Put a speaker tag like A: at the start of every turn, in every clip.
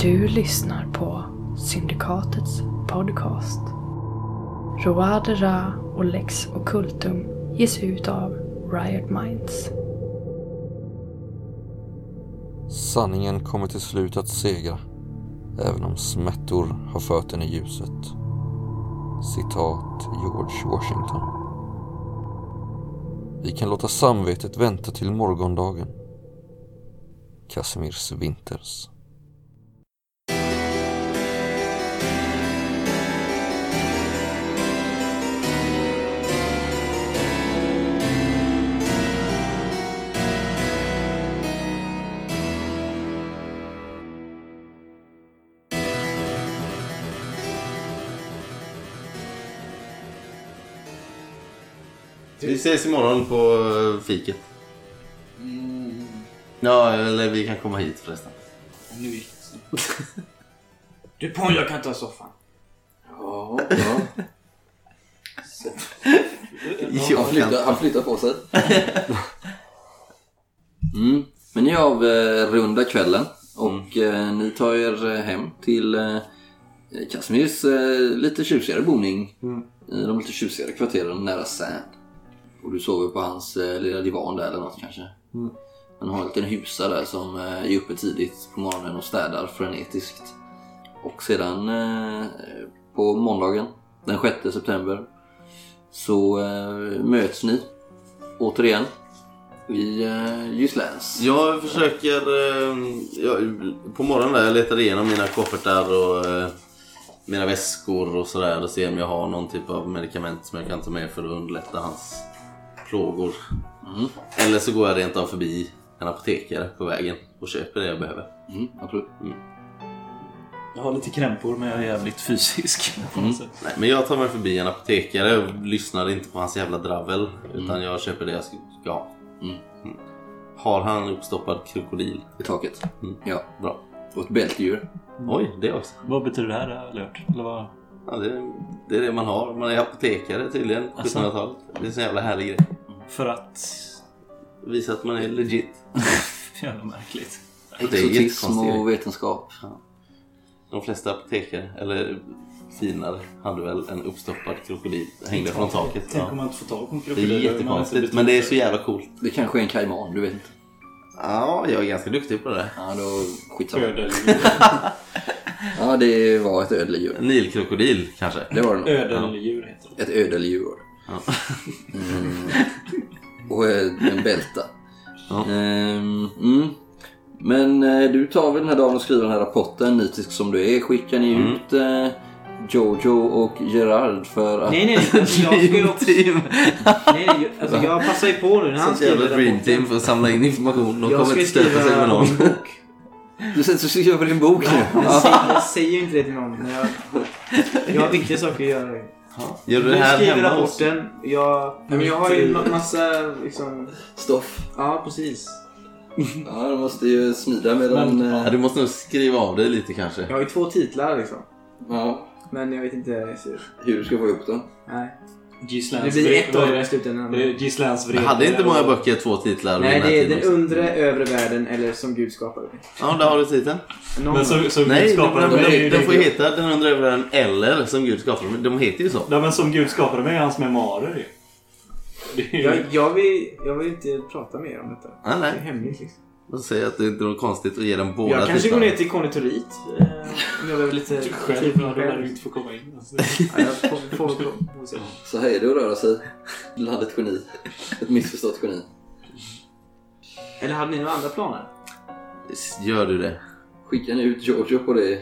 A: Du lyssnar på Syndikatets podcast. Roade Ra och Lex Occultum ges ut av Riot Minds.
B: Sanningen kommer till slut att segra, även om smärtor har fört den i ljuset. Citat George Washington. Vi kan låta samvetet vänta till morgondagen. Casimirs Winters.
C: Typ. Vi ses imorgon på eh, fiket. Ja, eller vi kan komma hit förresten.
D: Nu gick det snabbt. Du på jag kan ta soffan. Ja, ja.
C: Jag
E: Han flyttar, han flyttar på sig. Mm. Men ni avrundar kvällen och eh, ni tar er eh, hem till eh, Kasmirs eh, lite tjusigare boning. I de lite tjusigare kvarteren nära Sand. Och du sover på hans eh, lilla divan där eller något kanske. Han har en liten husa där som eh, är uppe tidigt på morgonen och städar frenetiskt. Och sedan eh, på måndagen den 6 september så eh, möts ni återigen i eh, Gislans.
C: Jag försöker... eh, Jag, på morgonen där, jag letar igenom mina koffertar och eh, mina väskor och sådär och ser om jag har någon typ av medicament som jag kan ta med för att underlätta hans plågor. Eller så går jag rent av förbi en apotekare på vägen och köper det jag behöver.
E: Mm, absolut.
F: Jag har lite krämpor men jag är jävligt fysisk. på något sätt.
C: Nej, men jag tar mig förbi en apotekare och lyssnar inte på hans jävla dravel.
F: Mm.
C: Utan jag köper det jag ska ska ha.
E: Mm.
C: Mm. Har han uppstoppad krokodil?
E: I taket.
C: Mm.
E: Ja.
C: Bra.
E: Och ett bältdjur.
F: Mm.
C: Oj, det också.
F: Vad betyder det här? Det har jag aldrig hört. Eller vad?
C: Ja, det, det är det man har. Man är apotekare tydligen. på
F: Asså.
C: 1700-talet. Det är en sån jävla härlig grej.
F: Alltså. För att...
C: Visa att man är legit.
F: Jävla märkligt.
C: Det är
E: Exotism
C: jättekonstigt.
E: och vetenskap.
C: De flesta apotekare, eller finare, hade väl en uppstoppad krokodil. Hängde från taket.
F: Tänk om
C: Ja.
F: man inte får tag på en
C: Det
F: krokodil.
C: är jättekonstigt, men det är så jävla coolt.
E: Det kanske är en kajman, du vet inte.
C: Ja, jag är ganska duktig på det. där.
E: Ja, då skitsamma. Ja, det var ett ödeldjur.
C: En Nilkrokodil kanske?
E: Det var det nog.
F: Ödeldjur heter det.
E: Ett ödeldjur.
C: Ja.
E: Och eh, en bälta.
C: Ja.
E: Ehm, mm. Men eh, du tar väl den här dagen och skriver den här rapporten, nitisk som du är. Skickar ni
C: Mm.
E: ut eh, Jojo och Gerard för att...
D: Nej, nej, alltså, jag ska ju också...
C: Team.
D: Nej, nej, alltså, jag passar ju på nu när han
C: Sånt jävla
D: skriver
C: dream
D: rapporten.
C: team för att samla in information. De
D: Jag
C: kommer
D: ska ju
C: inte stöta sig
D: skriva
C: med
D: om
C: någon.
D: min bok.
E: Du sätter och skriver på din bok nu.
D: Jag säger, jag säger ju inte det till någon. men Jag, jag har viktiga saker att göra.
C: Gör du
D: Du
C: det här
D: skriver
C: hemma hos...
D: rapporten. Jag, men jag har ju ma- massa liksom...
E: Stoff.
D: Ja, precis.
E: Ja, de måste ju smida med den...
F: Men-
C: Ja,
E: eh,
C: du måste nog skriva av dig lite kanske.
D: Jag har ju två titlar liksom.
E: ja,
D: Men jag vet inte... så-
E: hur du ska få ihop den.
D: Nej.
F: Gislans
D: Det blir ett
F: vre-
D: av det i slutändan.
F: Det är Gislans
C: Jag
F: vrede.
C: hade inte många böcker två titlar.
D: Nej,
C: vid den
D: det
C: här
D: är den
C: tiden också.
D: undre övre världen eller som Gud skapade mig.
C: Ja, där har du titeln.
D: Någon
F: Men så, så
C: Nej,
F: Gud
C: de,
F: skapade
C: de,
F: mig. är
C: de,
F: ju-
C: de får ju heta Den undre övervärlden eller Som Gud skapade dem. De heter ju så.
F: Nej, men som Gud skapade mig är hans memoarer ju. Det är ju...
D: jag, jag, vill, jag vill inte prata mer om detta.
C: Nej,
D: Det är
C: nej.
D: hemligt liksom.
C: De säger att det inte är något konstigt att ge dem båda
D: Jag kanske går
C: titlarna.
D: ner till konditorit. Eh, om jag behöver lite
F: Du typ själv,
D: tid
F: ja,
D: för
F: då lär
D: mig
F: du
D: typ själv.
F: inte få komma in. Alltså.
D: Ja, jag får- får- får- får se.
E: Så här är det att röra sig. Bland ett geni. Ett missförstått geni.
D: Eller hade ni några andra planer?
C: Gör du det?
E: Skickar ni ut Jojo på det,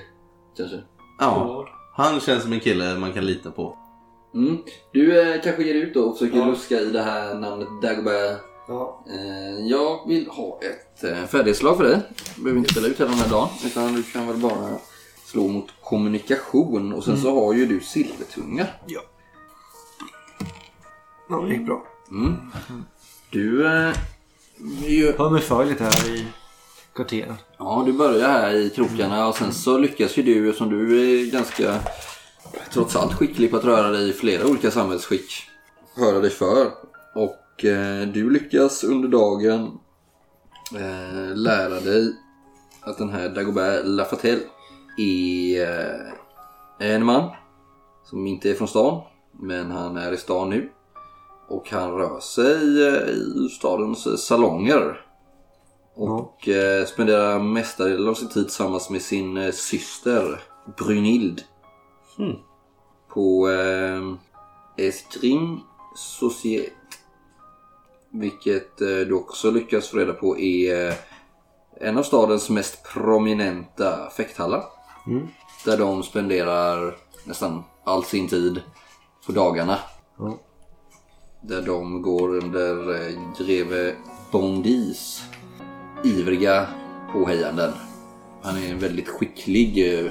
E: kanske?
C: Ja. Han känns som en kille man kan lita på.
E: Mm. Du eh, kanske ger ut då och försöker
D: Ja.
E: luska i det här namnet Dagobert.
D: Ja.
E: Eh, jag vill ha ett eh, färdighetslag för dig. Du behöver inte spela ut hela den här dagen. Utan du kan väl bara slå mot kommunikation. Och sen
D: Mm.
E: så har ju du silvertunga.
G: Ja, det gick bra.
E: Mm. Du... Eh, är ju...
G: Hör mig för lite här i kvarteren.
E: Ja, du börjar här i krokarna och sen så lyckas ju du, som du är ganska trots allt skicklig på att röra dig i flera olika samhällsskick, höra dig för. Och eh, du lyckas under dagen eh, lära dig att den här Dagobert Lafatelle är eh, en man som inte är från stan, men han är i stan nu. Och han rör sig eh, i stadens salonger. Och eh, spenderar mestadels av sin tid tillsammans med sin eh, syster Brynhild. På eh, Estrim Societ. Vilket eh, du också lyckas få reda på är eh, en av stadens mest prominenta fäkthallar. Där de spenderar nästan all sin tid på dagarna.
G: Ja.
E: Där de går under eh, greve Bondis ivriga påhejanden. Han är en väldigt skicklig eh,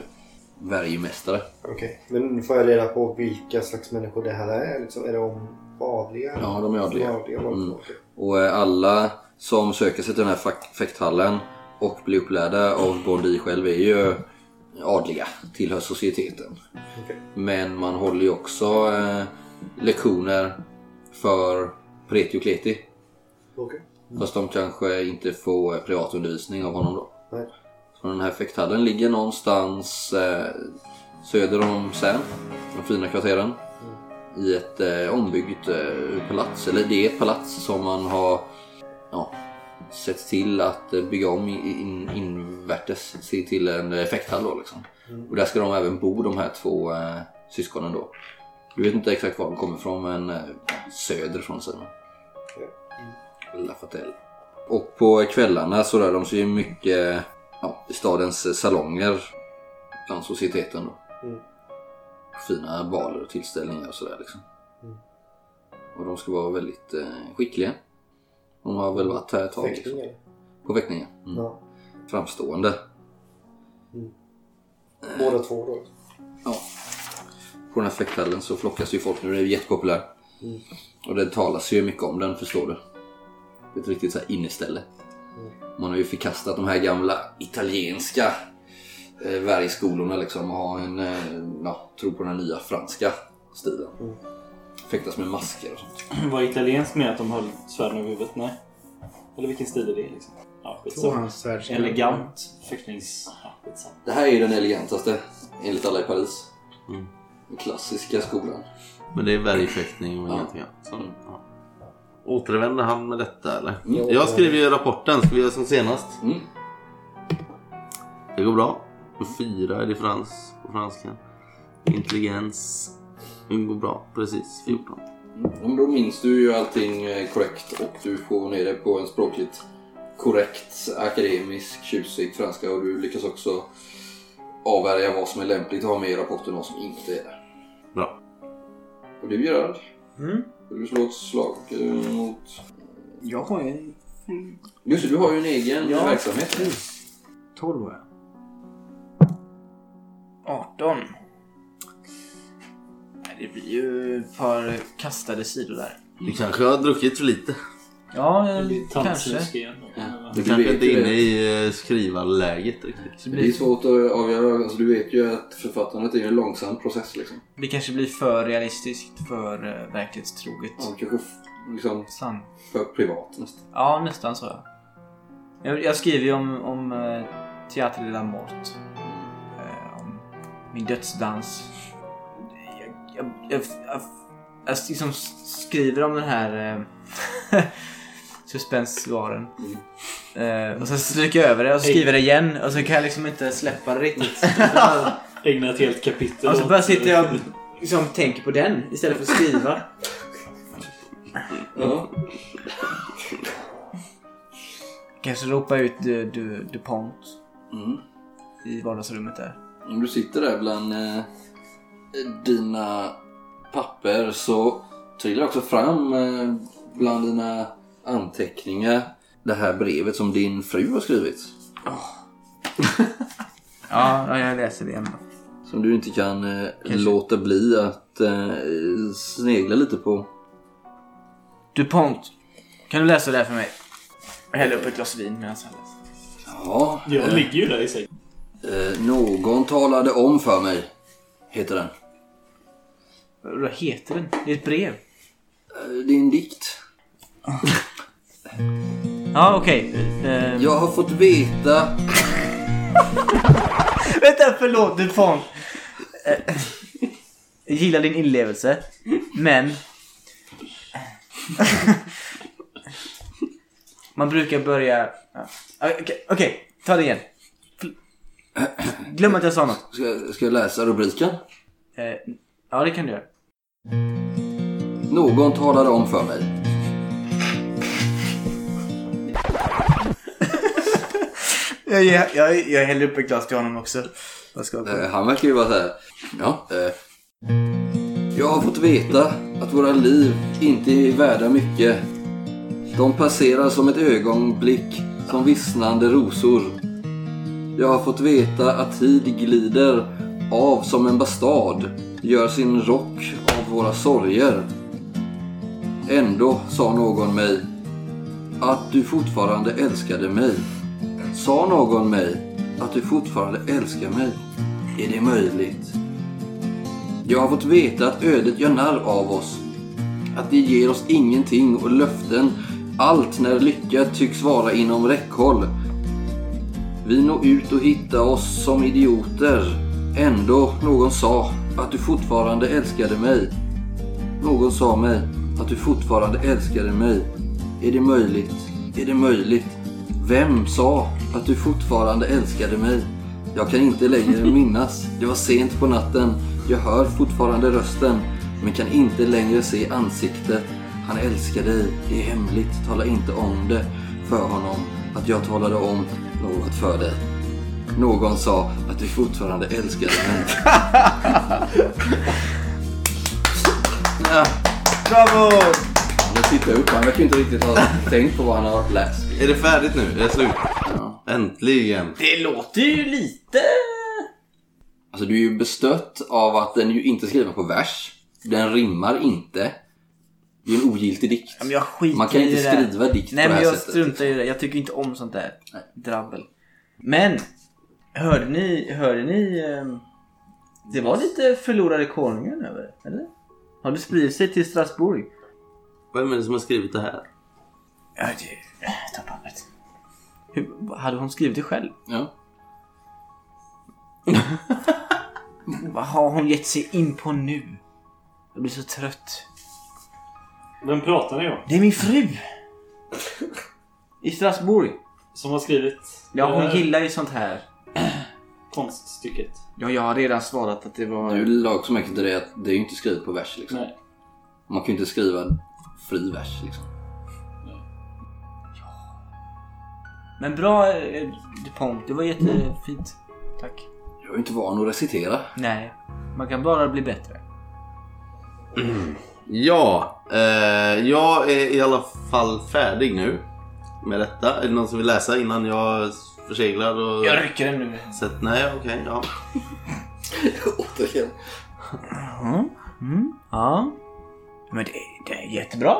E: värjemästare.
H: Okej, men nu får jag reda på vilka slags människor det här är. Liksom. Är de adliga?
E: Ja, de är adliga.
H: adliga var det
E: Mm.
H: okej.
E: Och eh, alla som söker sig till den här fak- fäkthallen och blir upplärda av Bondi själv är ju adliga, tillhör societeten.
H: Okej.
E: Men man håller ju också eh, lektioner för preti och kleti.
H: Okej.
E: Mm. Fast de kanske inte får eh, privatundervisning av honom då.
H: Nej.
E: Så den här fäkthallen ligger någonstans eh, söder om Sän, de fina kvarteren. I ett eh, ombyggt eh, palats, eller det är ett palats som man har ja, sett till att eh, bygga om i- in, invärtes se till en eh, fäkthall då liksom. Och där ska de även bo de här två eh, syskonen då. Du vet inte exakt var de kommer ifrån men eh, söderifrån säger man. La Fatelle. Och på kvällarna så rör de sig ju mycket ja, i stadens salonger. Bland societeten då.
H: Mm.
E: Fina baler och tillställningar och sådär liksom. Och de ska vara väldigt eh, skickliga. De har väl varit här ett tag.
H: Fäktning
E: liksom.
H: eller?
E: På väckningen. Mm.
H: Ja. Mm.
E: Framstående.
H: Båda två då?
E: På den här fläkthallen så flockas ju folk nu. Den är ju jättepopulär. Och det talas ju mycket om den förstår du. Det är ett riktigt så här inneställe. Man har ju förkastat de här gamla italienska eh, värjskolorna liksom. Och ha en, eh, ja, tro på den här nya franska stilen. Fäktas med masker och sånt.
D: Var italienskt med att de höll svärden över huvudet? Nej. Eller vilken stil är det liksom? Ja, skitsamma. Elegant fäktnings... Ja, skitsamma.
E: Det här är ju den elegantaste enligt alla i Paris. Den klassiska skolan.
C: Men det är värjfäktning och ingenting annat. Så, ja. Återvänder han med detta eller?
H: Mm.
C: Jag skriver ju rapporten. Ska vi göra som senast?
E: Mm.
C: Det går bra. Fyra är differens på franskan. Intelligens. Det går bra. Precis. 14.
E: Men då minns du ju allting eh, korrekt och du får ner det på en språkligt korrekt, akademisk, tjusig franska och du lyckas också avvärja vad som är lämpligt att ha med i rapporten och vad som inte är det.
C: Bra.
E: Och du Gerard?
G: Mm.
E: Vill du slå ett slag eh, mot...
D: Jag har ju en...
E: Just det, du har ju en egen
D: Ja.
E: verksamhet.
G: 12 var jag.
D: 18. Nej, Det blir ju ett par kastade sidor där.
C: Du kanske har druckit för lite.
D: Ja, eh, kanske.
I: Tantsnusk igen.
C: Du
E: Du
C: kanske
E: vet
C: inte
E: ju
C: är inne
E: det.
C: i eh, skrivarläget riktigt.
E: Det är svårt att avgöra. Alltså, du vet ju att författandet är ju en långsam process liksom.
D: Det kanske blir för realistiskt, för eh, verklighetstroget.
E: Ja, kanske f- liksom
D: Sann.
E: för privat nästan.
D: Ja, nästan så. ja. Jag, jag skriver ju om, om eh, Teater de la Mort. Eh, om min dödsdans. Jag, jag, jag, jag, jag liksom skriver om den här eh, suspensvaren. Eh, och sen stryker jag över det och så skriver jag igen och så kan jag liksom inte släppa det riktigt.
I: Ägna ett helt kapitel
D: och så
I: åt-
D: bara Alltså, sitter jag och liksom tänker på den istället för att skriva.
E: Ja.
D: Kanske ropa ut du, du, DuPont
E: Mm.
D: i vardagsrummet där.
E: Om du sitter där bland eh, dina papper så trillar också fram eh, bland dina anteckningar det här brevet som din fru har skrivit.
D: Ja, ja, jag läser det igen då.
E: Som du inte kan eh, låta bli att eh, snegla lite på.
D: DuPont, kan du läsa det här för mig? Jag häller upp ett glas vin medan han läser.
E: Ja,
I: Jag ligger ju där i sängen.
E: eh, någon talade om för mig, heter den.
D: Vad heter den? Det är ett brev.
E: Eh, Det är en dikt.
D: Ja, okej. Ehm. Okay.
E: Jag har fått veta
D: Vänta, förlåt Dupont. Eh, Jag gillar din inlevelse, men... Man brukar börja... ja. Ah, Okej, okej, ta det igen. Förl- Glöm att jag sa något.
E: Ska, ska jag läsa rubriken?
D: Eh, Ja, det kan du göra.
E: Någon talade om för mig.
D: Jag, jag, jag, jag häller upp ett glas till honom också. Vad ska jag
E: Eh, Han verkar ju vara så här. Ja, eh. Jag har fått veta att våra liv inte är värda mycket. De passerar som ett ögonblick, som vissnande rosor. Jag har fått veta att tid glider av som en bastard, gör sin rock av våra sorger. Ändå sa någon mig att du fortfarande älskade mig. Sa någon mig att du fortfarande älskar mig? Är det möjligt? Jag har fått veta att ödet gör narr av oss. Att det ger oss ingenting och löften. Allt när lycka tycks vara inom räckhåll. Vi når ut och hittar oss som idioter. Ändå någon sa att du fortfarande älskade mig. Någon sa mig att du fortfarande älskade mig. Är det möjligt? Är det möjligt? Vem sa att du fortfarande älskade mig? Jag kan inte längre minnas. Det var sent på natten. Jag hör fortfarande rösten, men kan inte längre se ansiktet. Han älskar dig. Det är hemligt. Tala inte om det för honom. Att jag talade om något för dig. Någon sa att du fortfarande älskade mig. Ja,
D: Bravo!
E: nu tittar jag upp. Han verkar ju inte riktigt ha tänkt på vad han har läst.
C: Är det färdigt nu? Är det slut?
E: Ja.
C: Äntligen!
I: Det låter ju lite...
E: Alltså du är ju bestött av att den ju inte är skriven på vers. Den rimmar inte. Det är en ogiltig dikt.
D: Men jag skiter
E: Man kan
D: i
E: inte
D: det där.
E: skriva dikt
D: Nej,
E: på det
D: men
E: här
D: jag
E: sättet.
D: struntar i det. Jag tycker inte om sånt där drabbel. Men, hörde ni, hörde ni? ehm, Det var lite förlorade konungen över det, eller? Har du spridit sig till Strasbourg?
C: Vem är det som har skrivit det här?
D: Ja, det... Ta pappret. Hur, hade hon skrivit det själv?
E: Ja.
D: Vad har hon gett sig in på nu? Jag blir så trött.
J: Vem pratar ni om?
D: Det är min fru! I Strasbourg.
J: Som har skrivit
D: Ja,
J: det
F: Eh,
D: hon
J: här
D: gillar ju sånt här.
J: konststycket.
D: Ja, jag har redan svarat att det var...
E: Nu lagmärker inte det att det är ju inte skrivet på vers liksom.
J: Nej.
E: Man kan ju inte skriva fri vers liksom.
D: Men bra eh, DuPont, det var jättefint. Tack.
E: Jag är ju inte van att recitera.
D: Nej, man kan bara bli bättre.
C: Ja, eh, jag är i alla fall färdig nu med detta. Är det någon som vill läsa innan jag förseglar? Och...
I: Jag rycker den nu.
C: Sätt... Nej, okej. ja.
E: Återigen.
D: Mm. Ja. Men det, det är jättebra.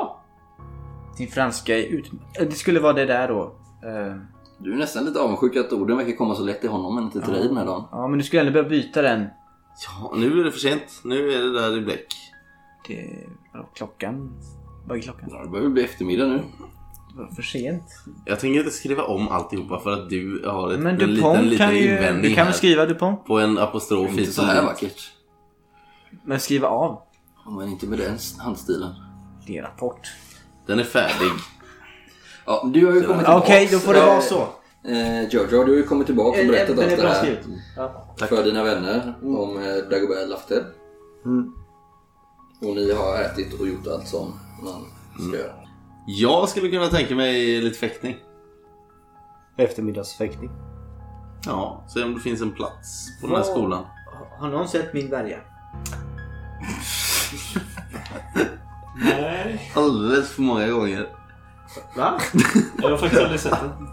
D: Din franska är ut... eh, Det skulle vara det där då. Eh,
E: Du är nästan lite avundsjuk att orden verkar komma så lätt till honom men inte till dig den här dagen.
D: Ja, men du skulle ändå behöva byta den.
C: ja, nu är det för sent. Nu är det där i bläck.
D: Det... Vadå, klockan? Vad är klockan?
E: Ja, Det börjar väl bli eftermiddag nu.
D: Det var för sent.
C: Jag tänker inte skriva om alltihopa för att du har ett,
D: Men
C: en
D: DuPont
C: liten, liten
D: kan ju...
C: invändning
D: Du kan
C: här
D: väl skriva DuPont?
C: på en
E: Det
C: apostrof
E: är inte
C: hit
E: så
C: och
E: här
C: dit.
E: vackert.
D: Men skriva av.
E: Men inte med den handstilen.
D: Det är rapport.
C: Den är färdig.
E: Ja, du har ju kommit tillbaks.
D: Okej, då får det
E: Eh,
D: vara så. Eh,
E: Eh, Giorgio, du har ju kommit tillbaka och berättat allt det här
C: Tack.
E: för dina vänner
J: Mm.
E: om eh, Dagobert Laftel. Och ni har ätit och gjort allt som man ska
J: Mm.
E: göra.
C: Jag skulle kunna tänka mig lite fäktning.
G: Eftermiddagsfäktning.
C: Ja, se om det finns en plats på den här skolan.
D: Har någon sett min värja?
J: Nej,
C: Alldeles för många gånger.
D: Va?
J: jag har faktiskt aldrig sett den.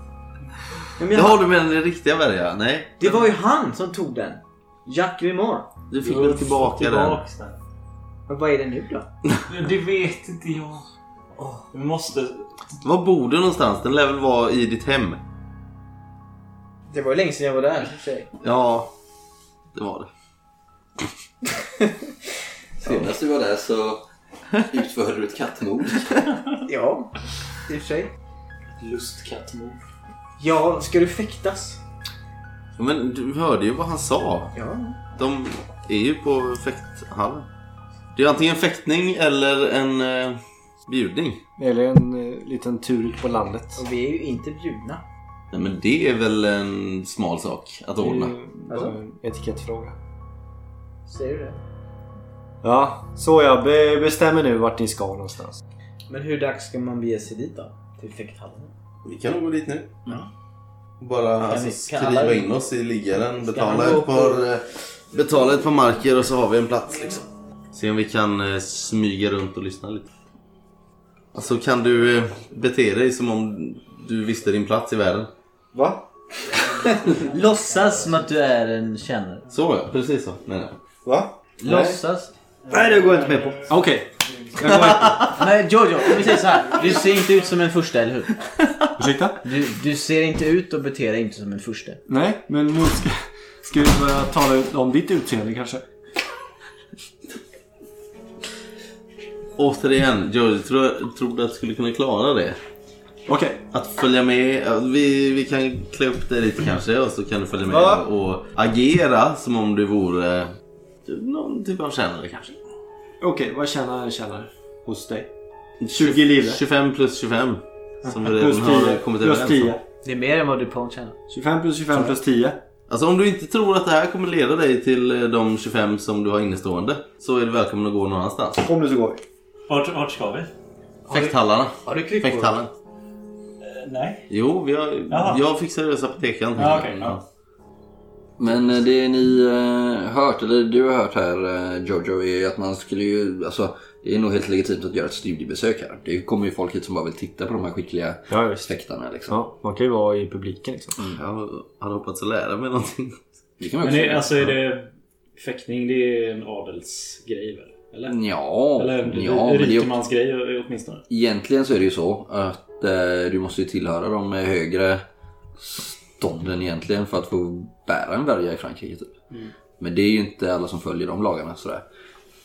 D: Ja, men jag-
C: Jaha, du menar den riktiga värja? Nej.
D: Det var ju han som tog den. Jack Grimore.
C: Du fick
J: Jag har
C: väl tillbaka
J: fått
C: den?
J: tillbaks den.
D: Men vad är det nu då?
J: Det vet inte jag. Vi måste...
C: Var bor du någonstans? Den lär väl vara i ditt hem?
D: Det var ju länge sedan jag var där. i och för sig.
C: Ja, det var det.
E: Senast du var där så utförde du ett kattmord.
D: Ja, i och för sig.
J: Lustkattmord.
D: Ja, ska du fäktas?
C: Ja, Men du hörde ju vad han sa. De är ju på fäkthallen. Det är antingen fäktning eller en eh, bjudning.
K: Eller en eh, liten tur ut på landet.
D: Och vi är ju inte bjudna.
C: Nej, men det är väl en smal sak att ordna.
K: Det är bara
D: Alltså?
K: en etikettfråga.
D: Säger du det?
K: Ja, så jag be- bestämmer nu vart ni ska någonstans.
D: Men hur dags ska man bege sig dit då? Till fäkthallen?
C: Vi kan nog gå dit nu. Bara alltså,
D: vi- kan
C: skriva
D: alla-
C: in oss i liggaren, betala
D: alla gå
C: ett, par, eh, betala ett par marker och så har vi en plats. Liksom. Se om vi kan eh, smyga runt och lyssna lite. Alltså kan du eh, bete dig som om du visste din plats i världen?
H: Va?
L: Låtsas som att du är en kännare.
C: Så ja, precis så. Nej, nej.
H: Va?
L: Låtsas.
H: Nej, det går jag inte med på.
K: Okej.
L: Nej Jojo, om vi säger så här. Du ser inte ut som en första, eller hur?
K: Ursäkta?
L: Du, du ser inte ut och beter dig inte som en första.
K: Nej, men nu ska, ska vi börja tala ut om ditt utseende kanske?
C: Återigen, Jojo, tror, tror du att du skulle kunna klara det?
K: Okej.
C: Att följa med. ja, Vi, vi kan klä upp dig lite kanske och så kan du följa med
K: Ja.
C: och agera som om du vore eh, någon typ av tjänare kanske.
K: Okej, vad tjänar en tjänare hos dig? 20 livre.
C: 25 plus 25. Som vi redan
K: Plus
C: har
K: 10.
C: kommit
K: Plus
C: överens om.
K: 10.
L: Det är mer än vad du påkänner.
K: 25 plus 25 plus 10.
C: Alltså om du inte tror att det här kommer leda dig till eh, de 25 som du har innestående så är du välkommen att gå någon annanstans.
K: Kom nu så går vi.
J: Vart, vart ska vi?
C: Fäkthallarna.
D: Har du kryckor?
C: Fäkthallen.
J: Nej.
C: Jo, vi har,
J: Jaha.
C: jag fixar lösa apotekaren.
K: Ah,
J: Ja, okej, ja.
E: Men eh, det ni eh, hört, eller du har hört här eh, Jojo, är ju att man skulle ju, alltså det är nog helt legitimt att göra ett studiebesök här. Det kommer ju folk hit som bara vill titta på de här skickliga
K: Ja, visst.
E: fäktarna liksom.
K: Ja, man kan ju vara i publiken liksom.
C: Jag hade hoppats att lära mig någonting.
E: Det kan man
J: Men
E: också
J: det,
E: göra.
J: alltså är det... Fäktning det är en adelsgrej väl? Eller?
E: Ja,
J: Eller
E: ja men det är
J: rikemansgrej eh, åtminstone.
E: Egentligen så är det ju så att eh, du måste ju tillhöra de högre stånden egentligen för att få bära en värja i Frankrike. Typ.
C: Mm.
E: Men det är ju inte alla som följer de lagarna. Sådär.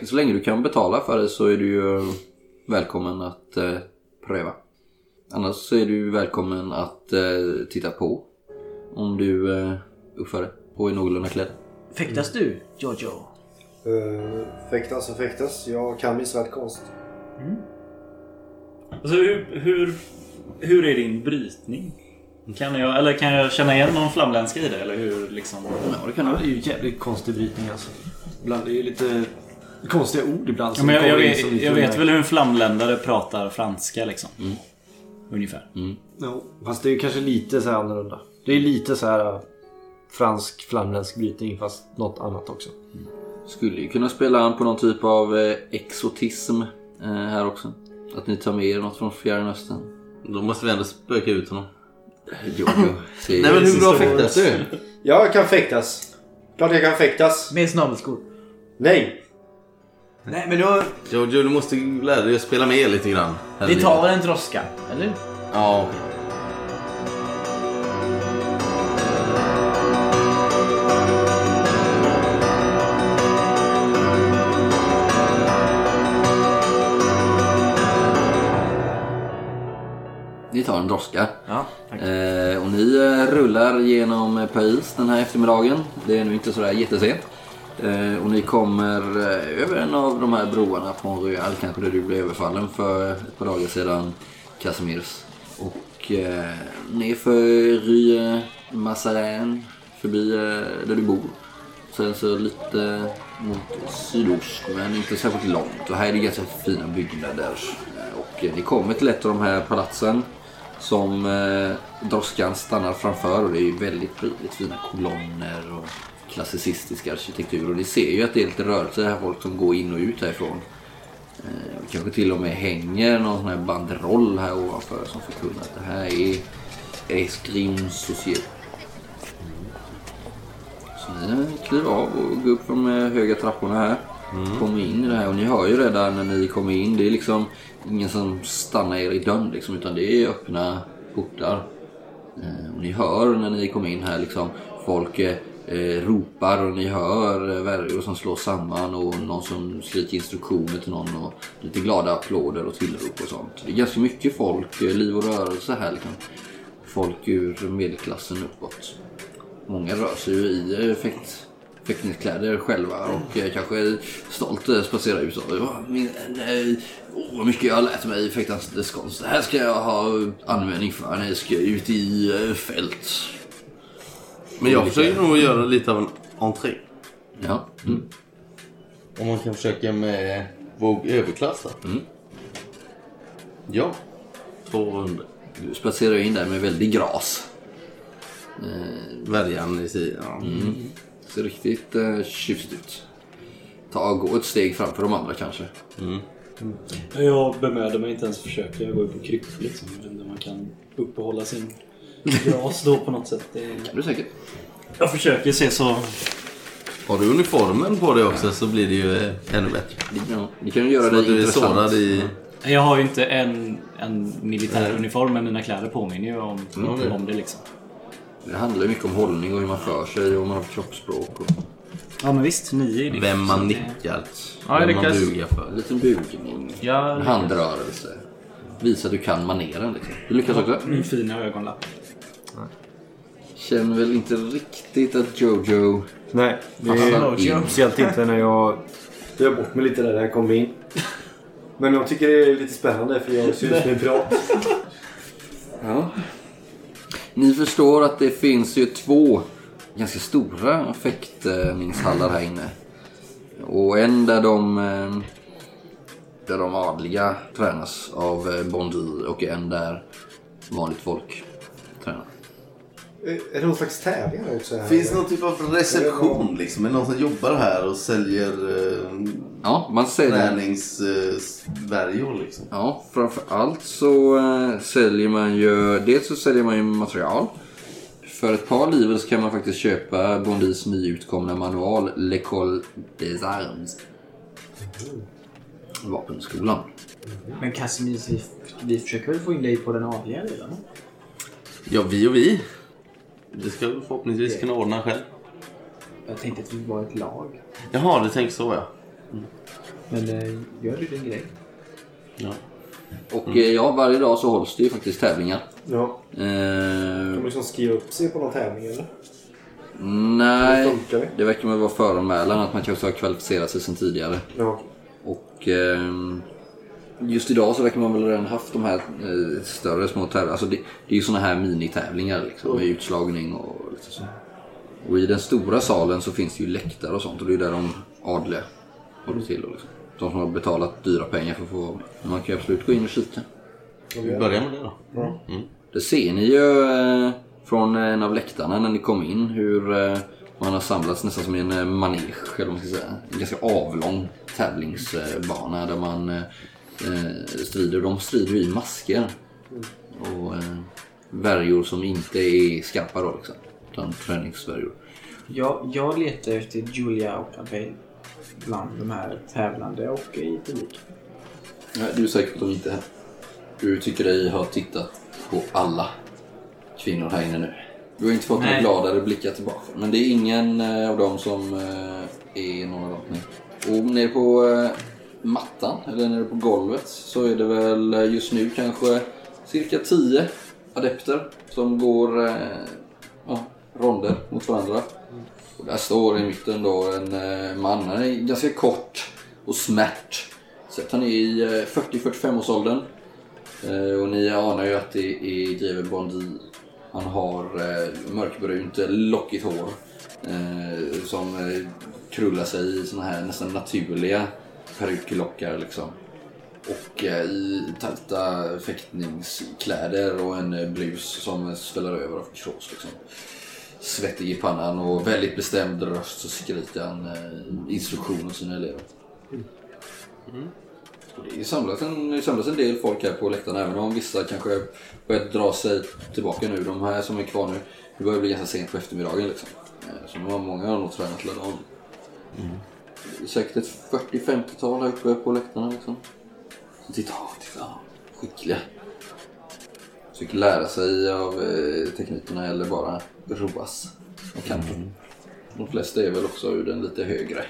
E: Så länge du kan betala för det så är du ju välkommen att eh, pröva. Annars så är du välkommen att eh, titta på om du eh, uppför dig och är någorlunda klädd.
L: Fäktas du Jojo?
H: Uh, fäktas och fäktas. Jag kan min svärdkonst.
J: Alltså hur, hur, hur är din brytning? Kan jag, eller kan jag känna igen någon flamländska i det? Eller hur liksom...
E: Ja, det kan du.
K: Det är ju jävligt konstig brytning alltså. Ibland, det är ju lite konstiga ord ibland.
J: Ja,
K: som
J: men jag,
K: kommer
J: jag,
K: in som
J: vet,
K: lite
J: jag vet
K: märk-
J: väl hur en flamländare pratar franska liksom.
K: Mm.
J: Ungefär.
K: Jo, fast det är ju kanske lite så här annorlunda. Det är lite så här äh, fransk flamländsk brytning fast något annat också.
E: Skulle ju kunna spela an på någon typ av eh, exotism eh, här också. Att ni tar med er något från Fjärran Östern.
C: Då måste vi ändå spöka ut honom.
E: Jo, jo. Det är-
C: Nej men hur bra fäktas du?
H: Jag kan fäktas. Klart jag kan fäktas.
L: Med snabelskor.
H: Nej!
D: Nej men då...
C: Jojo, du måste lära dig att spela med lite grann. här i
L: Vi tar
C: livet.
L: väl en droska, eller?
C: Ja,
E: Ni tar en droska.
D: Ja, tack.
E: Eh, och ni eh, rullar genom eh, Paris den här eftermiddagen. Det är nu inte sådär jättesent. Eh, och ni kommer eh, över en av de här broarna på Royal, kanske där du blev överfallen för ett par dagar sedan, Casimirs. Och eh, nerför Rue Massarin, förbi eh, där du bor. Sen så lite mot sydost, men inte särskilt långt. Och här är det ganska fina byggnader. Eh, Och eh, ni kommer till ett av de här palatsen som eh, droskan stannar framför och det är ju väldigt prydligt. Fina kolonner och klassicistisk arkitektur. Och ni ser ju att det är lite rörelse här, folk som går in och ut härifrån. Eh, och kanske till och med hänger någon sån här banderoll här ovanför som förkunnar att det här är Escrime Société. Så ni kliver av och går upp de eh, höga trapporna här. Kommer in i det här och ni hör ju redan när ni kommer in. Det är liksom ingen som stannar er i dörren liksom, utan det är öppna portar. Eh, Och ni hör när ni kommer in här liksom folk eh, eh, ropar och ni hör eh, värjor som slås samman och någon som skriker instruktioner till någon och lite glada applåder och tillrop och sånt. Det är ganska mycket folk, eh, liv och rörelse här liksom. Folk ur medelklassen uppåt. Många rör sig ju i eh, fäkt, fäktningskläder själva och eh, kanske stolt eh, spacerar ut. och, "Åh, min- nej, Åh, vad mycket jag har lärt mig i fäktandets konst. Det här ska jag ha användning för när jag ska ut i eh, fält.
C: Men jag försöker nog göra lite av en entré.
E: Ja. mm.
C: Om man kan försöka med våg överklassa. Mm. Ja. 200.
E: Du spatserar in där med väldig gras.
C: Värjan i sidan.
E: Mm. Ser riktigt eh, tjusigt ut. Ta gå ett steg framför de andra kanske.
F: Mm. Jag bemöder mig inte ens att försöka. Jag går ju på kryckor liksom. Jag vet inte om man kan uppehålla sin gras då på något sätt. Det
E: kan du säkert.
F: Jag försöker se så...
C: Har du uniformen på dig också så blir det ju eh, ännu bättre.
E: Ja, det kan ju göra dig
C: att du är
E: intressant.
C: sårad i...
F: Jag har ju inte en, en militär
E: Nej.
F: uniform men mina kläder påminner ju om,
E: Mm, det är det.
F: om det liksom.
E: Det handlar ju mycket om hållning och hur man för sig och om man har för kroppsspråk. Och...
F: Ja men visst, nio är det.
E: Vem man
C: nickar.
F: Ja, jag Vem man lyckas. bugar
C: för.
E: En liten bugning.
F: Jag
E: en
F: lyckas.
E: handrörelse. Visa att du kan maneren liksom. Du lyckas också?
F: Min fina ögonlapp.
E: Känner väl inte riktigt att Jojo...
K: Nej, det är speciellt inte när jag... Jag bort mig lite där när jag kom in.
H: Men jag tycker det är lite spännande för jag ser ut som en pirat.
E: Ja. Ni förstår att det finns ju två ganska stora fäktningshallar här inne. Och en där de, eh, där de adliga tränas av eh, Bondi och en där vanligt folk tränar.
H: Eh, Är är det någon slags tävling här också? Här?
C: Finns det någon typ av reception liksom? Är det någon som jobbar här och säljer eh,
E: Ja, man säljer-
C: träningsvärjor liksom?
E: Ja, framför allt så eh, säljer man ju... Dels så säljer man ju material. För ett par livor så kan man faktiskt köpa Bondis nyutkomna manual L'École des Armes. Vapenskolan.
L: Men Casimir, vi, vi försöker väl få in dig på den adliga ligan?
C: Ja, vi och vi. Det ska du förhoppningsvis kunna ordna själv.
L: Jag tänkte att vi var ett lag.
C: Jaha, du tänker så ja.
L: Men eh, gör du din grej?
C: Ja.
E: Och eh, ja, varje dag så hålls det ju faktiskt tävlingar.
H: Ja. Kan man
E: Eh,
H: liksom skriva upp sig på någon tävling eller?
E: nej, det verkar väl vara föranmälan att man kanske har kvalificerat sig sedan tidigare.
H: Ja.
E: Och ehm, just idag så verkar man väl redan haft de här eh, större små tävlingarna. Alltså det, det är ju såna här minitävlingar liksom, med utslagning och lite så. Och i den stora salen så finns det ju läktare och sånt och det är där de adliga håller till. Och liksom. De som har betalat dyra pengar för att få vara med. Men man kan ju absolut gå in och kika.
C: Ska vi börja med det då?
E: Ja. Det ser ni ju eh, från en av läktarna när ni kom in hur eh, man har samlats nästan som i en eh, manege, eller vad man ska säga. En ganska avlång tävlingsbana där man eh, eh, strider. De strider i masker och eh, värjor som inte är skarpa då liksom. Utan träningsvärjor.
L: Jag, jag letar efter Julia och Abel bland de här tävlande och i publiken.
E: Nej, du är säker på att de inte är här. Du tycker dig ha tittat på alla kvinnor här inne nu. Du har inte fått några
L: Nej.
E: gladare blickar tillbaka. Men det är ingen eh, av dem som eh, är någon av dem. Nej. Och nere på eh, mattan, eller nere på golvet, så är det väl eh, just nu kanske cirka 10 adepter som går eh, ja, ronder mot varandra. Och där står i mitten då en eh, man. Han är ganska kort och smärt. Så att han är i eh, 40-45 års åldern. Eh, och ni anar ju att det är Driver Bondi. Han har eh, mörkbrunt eh, lockigt hår. Eh, som eh, krullar sig i såna här nästan naturliga peruklockar liksom. Och eh, i tajta fäktningskläder och en eh, blus som sväller över av krås liksom. Svettig i pannan och väldigt bestämd röst så skriker han eh, instruktioner till sina elever. Och Mm. Det samlas en, det samlas en del folk här på läktarna även om vissa kanske börjat dra sig tillbaka nu. De här som är kvar nu, det börjar bli ganska sent på eftermiddagen liksom. Eh, Så de har många har nog tränat hela dagen. Det är Säkert ett 40-50-tal här uppe på läktarna liksom. Så titta, titta, skickliga. Försöker lära sig av eh, teknikerna eller bara roas. Och
C: Mm.
E: kan. De flesta är väl också ur den lite högre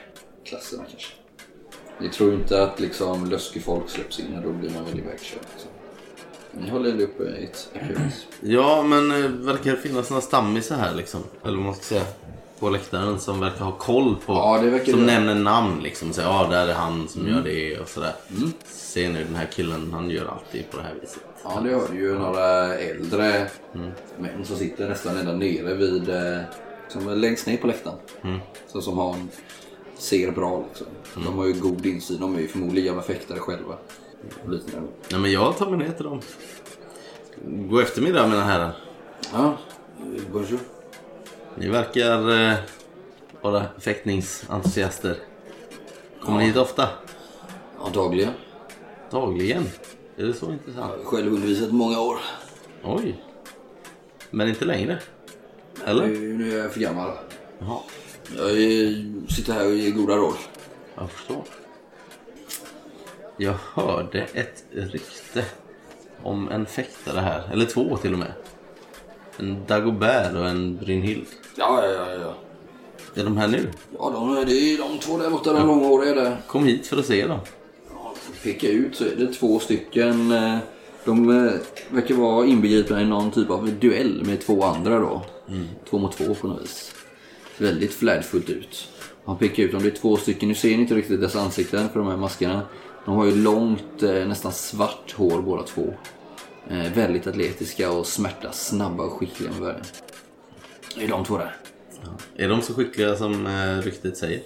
E: klassen kanske. Ni tror inte att liksom löskefolk släpps in och då blir man väl ivägkörd. Liksom. Ni håller uppe ett akut.
C: Ja, men eh, verkar det finnas några stammisar här liksom? Eller vad man ska säga. På läktaren som verkar ha koll på.
E: verkar
C: som
E: det.
C: nämner namn liksom. Säger ja, där är han som
E: Mm.
C: gör det och sådär. Se nu den här killen, han gör alltid på det här viset.
E: Ja, det hör ju några äldre
C: Mm.
E: män som sitter nästan ända nere vid... eh, Som är längst ner på läktaren.
C: Mm.
E: Så som har en, ser bra liksom. De har ju god insyn. De är ju förmodligen jävla fäktare själva. Och liknande.
C: Nej, men jag tar mig ner till dem. God eftermiddag mina herrar.
E: Ja, bonjour.
C: Ni verkar eh, vara fäktningsentusiaster. Kommer ni hit ofta?
E: Ja, dagligen.
C: Dagligen? Är det så intressant?
E: Själv undervisat många år.
C: Oj. Men inte längre? Eller?
E: Nu, nu är jag för gammal.
C: Jaha.
E: Jag är, sitter här och ger goda råd.
C: Jag förstår. Jag hörde ett rykte om en fäktare här. Eller två till och med. En Dagobert och en Brynhild.
E: Ja, ja, ja. ja.
C: Är de här nu?
E: Ja, de, det är de två där borta, de långhåriga där.
C: Kom hit för att se dem.
E: Peka ut så är det två stycken. eh, De eh, verkar vara inbegripna i någon typ av duell med två andra då. Två mot två på något vis. Väldigt flärdfullt ut. Han pekar ut dem, det är två stycken. Nu ser ni inte riktigt dess ansikten för de här maskerna. De har ju långt, eh, nästan svart hår båda två. Eh, Väldigt atletiska och smärta, snabba och skickliga med världen. Det är de två där.
C: Är de så skickliga som eh, ryktet säger?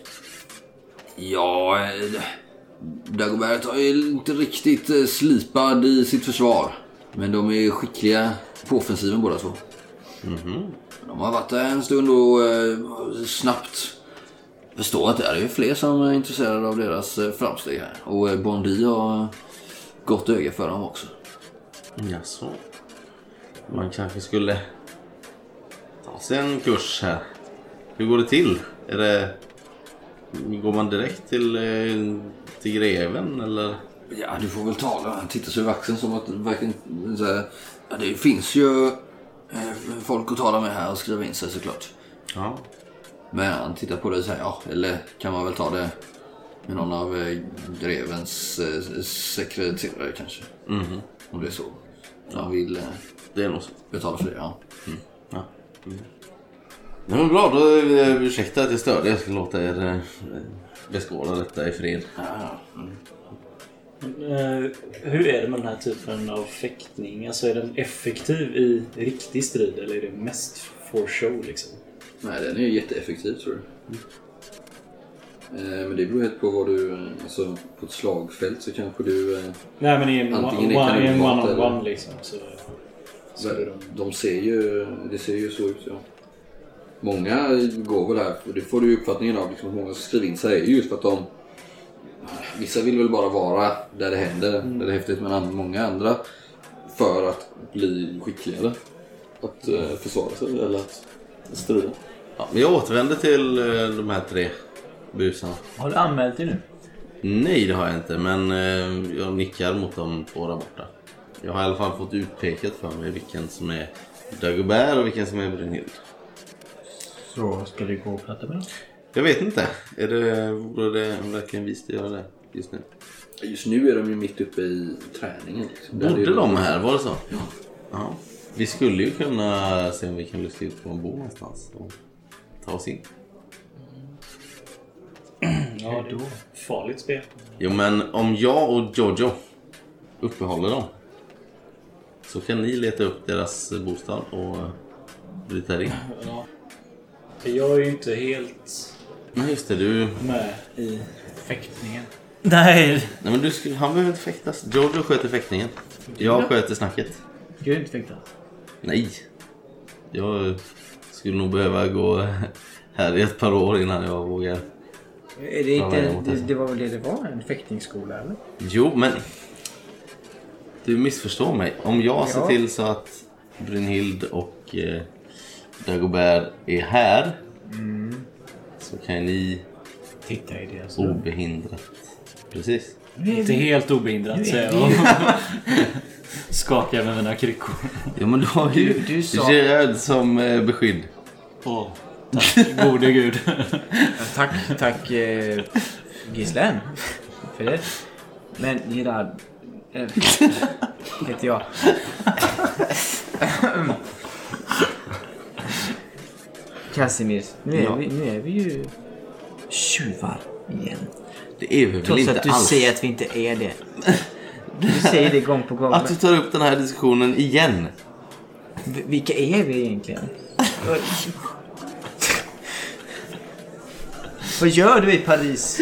E: Ja, eh, Dagobert har ju inte riktigt eh, slipad i sitt försvar. Men de är skickliga på offensiven båda två. De har varit där en stund och eh, snabbt förstår att det är ju fler som är intresserade av deras eh, framsteg här. Och eh, Bondi har gott öga för dem också.
C: Jaså? Man kanske skulle ta sig en kurs här. Hur går det till? Är det... Går man direkt till, eh, till greven eller?
E: Ja, du får väl tala. Han tittar sig över axeln som att det verkligen... Så här, ja, det finns ju eh, folk att tala med här och skriva in sig såklart.
C: Ja.
E: Men han tittar på dig och säger ja, eller kan man väl ta det med någon av eh, grevens eh, sekreterare kanske.
C: Mhm.
E: Om det är så. Han vill eh,
C: det är nog så.
E: betala för det, ja.
C: Ja. Nej men bra, då eh, ursäkta att jag störde. Jag ska låta er eh, beskåda detta i fred.
F: Men, eh, hur är det med den här typen av fäktning? Alltså är den effektiv i riktig strid eller är det mest for show liksom?
E: Nej, den är ju jätteeffektiv tror jag. Eh, Men det beror helt på vad du... eh, Alltså på ett slagfält så kanske du... eh,
F: Nej men i en
E: antingen är
F: one- i en
E: kanonmat
F: one-on-one
E: eller-
F: liksom. Så, så är de...
E: De ser ju, det ser ju så ut ja. Många går väl här, och det får du ju uppfattningen av, liksom, att många som skriver in sig är ju just för att de... Vissa vill väl bara vara där det händer, där det är häftigt, men an- många andra för att bli skickligare. Att eh, försvara sig eller att strida.
C: Ja, men jag återvänder till eh, de här tre busarna.
D: Har du anmält dig nu?
C: Nej, det har jag inte. Men eh, jag nickar mot de två där borta. Jag har i alla fall fått utpekat för mig vilken som är Dagobert och vilken som är Brynhild.
G: Så ska du gå och prata med dem?
C: Jag vet inte. Är det, vore det verkligen vist att göra det just nu?
E: Just nu är de ju mitt uppe i träningen. Liksom. Där är
C: Bodde
E: det-
C: de här? Var det så? Ja. Vi skulle ju kunna se om vi kan luska ut var de bor någonstans och ta oss in.
F: Ja, det är ett farligt spel.
C: Jo, men om jag och Jojo uppehåller dem så kan ni leta upp deras bostad och eh, bryta in.
F: Ja. För Jag är ju inte helt
C: Nej, just det. Du...
F: med i fäktningen.
C: Nej! Nej men du skulle, han behöver inte fäktas. Jojo sköter fäktningen. Jag
D: Ja.
C: sköter snacket.
D: Ska du inte fäkta?
C: Nej. Jag skulle nog behöva gå här i ett par år innan jag vågar.
L: Är det,
C: Ja, jag
L: inte,
C: måste
L: det,
C: säga.
L: det var väl det det var? En fäktningsskola eller?
C: Jo, men... Du missförstår mig. Om jag ser
L: Ja.
C: till så att Brynhild och eh, Dagobert är här så kan ju ni
D: Mm. Titta i deras rum.
C: obehindrat... Precis.
J: Inte helt obehindrat säger jag. Skakar med mina kryckor.
C: Ja, men du har ju
J: Du- du sa-
C: Gerard som eh, beskydd.
J: Åh, tack gode gud.
D: Tack, tack eh, Gislen. För det. Men Gerard, Eh, Heter jag. Casimir, nu är,
L: Ja.
D: vi, nu är vi ju tjuvar igen.
C: Det är vi väl
D: Trots
C: inte
D: att du
C: alls.
D: säger att vi inte är det. Du säger det gång på gång.
C: Att du
D: men
C: tar upp den här diskussionen igen.
D: v- Vilka är vi egentligen? Vad- Vad gör du i Paris?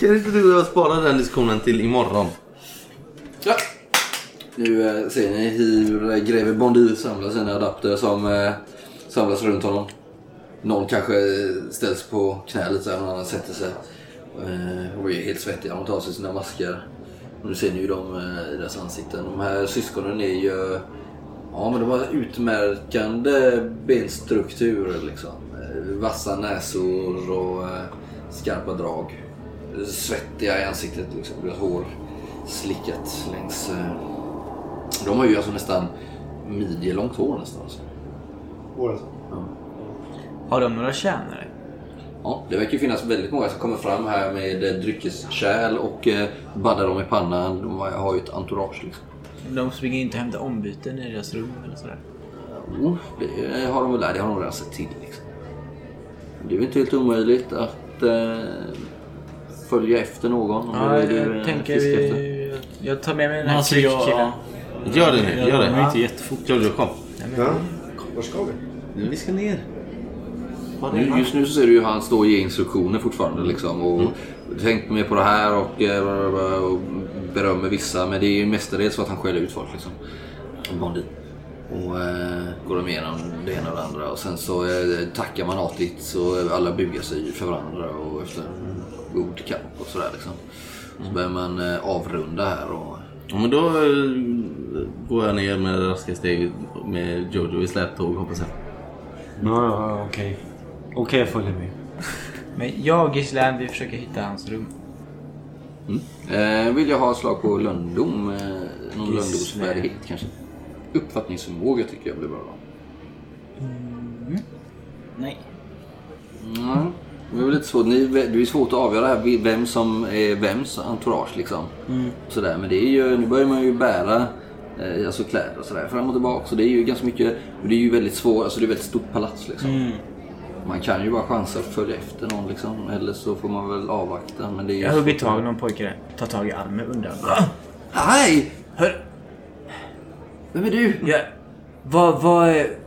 C: Kan inte du och jag spara den diskussionen till imorgon?
E: Nu eh, ser ni hur eh, greve Bondi samlar sina adapter som eh, samlas runt honom. Någon kanske eh, ställs på knä lite så här, någon annan sätter sig. Eh, och är helt svettig när de tar av sig sina masker. Och nu ser ni ju dem eh, i deras ansikten. De här syskonen är ju... Ja men de har utmärkande benstruktur liksom. Eh, Vassa näsor och eh, skarpa drag. Eh, Svettiga i ansiktet liksom. Deras hår slickat längs... Eh, de har ju alltså nästan midjelångt hår nästan. Alltså.
H: Våra
D: Har de några tjänare?
E: Ja, det verkar ju finnas väldigt många som kommer fram här med eh, dryckeskärl och eh, baddar dem i pannan. De har- har ju ett entourage liksom.
D: De springer inte och hämtar ombyten i deras rum eller sådär.
E: Jo, det eh, har de väl där. Det har de redan sett till liksom. Det är väl inte helt omöjligt att eh, följa efter någon. om
D: Ja,
E: det är det du,
D: jag
E: eh,
D: tänker
E: fiskar efter.
D: vi... Jag tar med mig den här
E: Alltså, jag-
D: kryckkillen.
E: ja. Gör det nu, gör det.
C: Det är inte jättefort. Claudio, kom.
H: Ja. Vart ska vi?
C: Vi ska ner.
E: Nu, just nu så ser du ju han stå och ge instruktioner fortfarande liksom. Och Tänk mer på det här och, eh, bla, bla, bla, och berömmer vissa. Men det är ju mestadels så att han skäller ut folk liksom. Bandit. Och eh, går de igenom det ena och det andra. Och sen så eh, tackar man artigt så alla bugar sig för varandra och efter god kamp och sådär liksom. Så börjar man eh, avrunda här och
C: Ja, men då eh, går jag ner med raska steg med Jojo i släptåg hoppas jag.
K: Ja, ja, ja, okej. Okej, jag följer med.
D: Men jag och Gislan, vi försöker hitta hans rum.
E: Mm. Eh, vill jag ha ett slag på lönndom? Eh, någon
D: Gissle.
E: lönndomsfärdighet kanske? Uppfattningsförmåga tycker jag blir bra då.
D: Mm. Nej.
E: Mm. Det är väl lite svårt. Ni, det är svårt att avgöra här vem som är vems entourage liksom.
D: Mm.
E: Sådär. Men det är ju, nu börjar man ju bära eh, alltså kläder och sådär fram och tillbaka. Så det är ju ganska mycket, och det är ju väldigt svårt, alltså det är ett väldigt stort palats liksom.
D: Mm.
E: Man kan ju bara chansa att följa efter någon liksom. Eller så får man väl avvakta. Men det är ju
D: Jag hugger
E: svårt.
D: tag i någon pojke där. Tar tag i armen undan.
E: Hej!
D: Hör...
E: Vem är du?
D: Ja. Vad, vad är...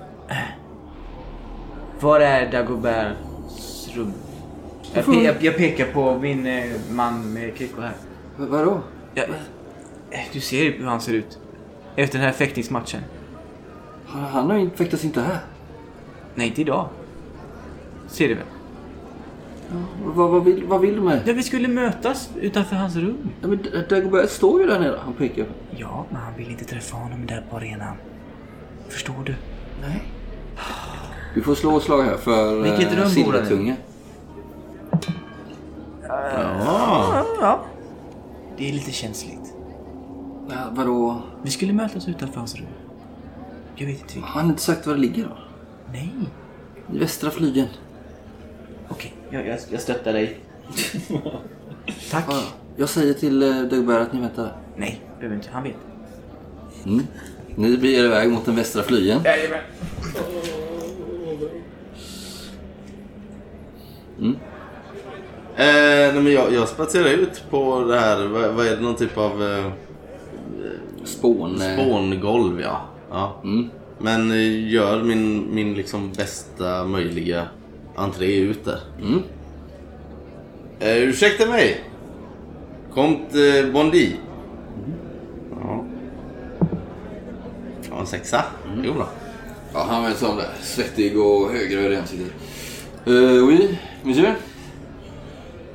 D: Var är Dagoberts rum? Jag, pe- jag, jag pekar på min eh, man med kryckor här.
E: Vadå?
D: Ja, eh, du ser ju hur han ser ut. Efter den här fäktningsmatchen.
E: Han har ju fäktats inte här.
D: Nej, inte idag. Ser du väl?
E: Vad, vad, vill, vad vill du med?
D: Ja, vi skulle mötas utanför hans rum.
E: Ja, men D- Dagobert står ju där nere. Han pekar.
D: Ja, men han vill inte träffa honom där på arenan. Förstår du?
E: Nej. Du får slå ett slag här för
D: Vilket rum bor
E: eh,
D: han i?
E: silvertunga.
D: Ja. ja. Det är lite känsligt.
E: Ja, vadå?
D: Vi skulle mötas utanför hans rum. Jag vet inte vilket.
E: Har han inte sagt var det ligger då?
D: Nej.
E: I västra flygeln.
D: Okej, jag, jag, jag stöttar dig. Tack.
E: Ja, jag säger till eh, Dagobert att ni väntar där.
D: Nej, behöver inte. Han vet.
E: Mm. Ni blir iväg mot den västra flygeln.
D: Jajamän.
C: Eh, nej, men jag, jag spatserar ut på det här. Vad, vad är det? Någon typ av... Eh,
E: Spån. eh.
C: Spångolv, ja. ja. Men eh, gör min, min liksom bästa möjliga entré ut där.
E: Mm.
C: Eh, ursäkta mig. Komt eh, Bondi. Ja. Ja, en sexa. Jo då.
E: Ja, han var en sån där svettig och högröd i ansiktet. Uh, oui, monsieur?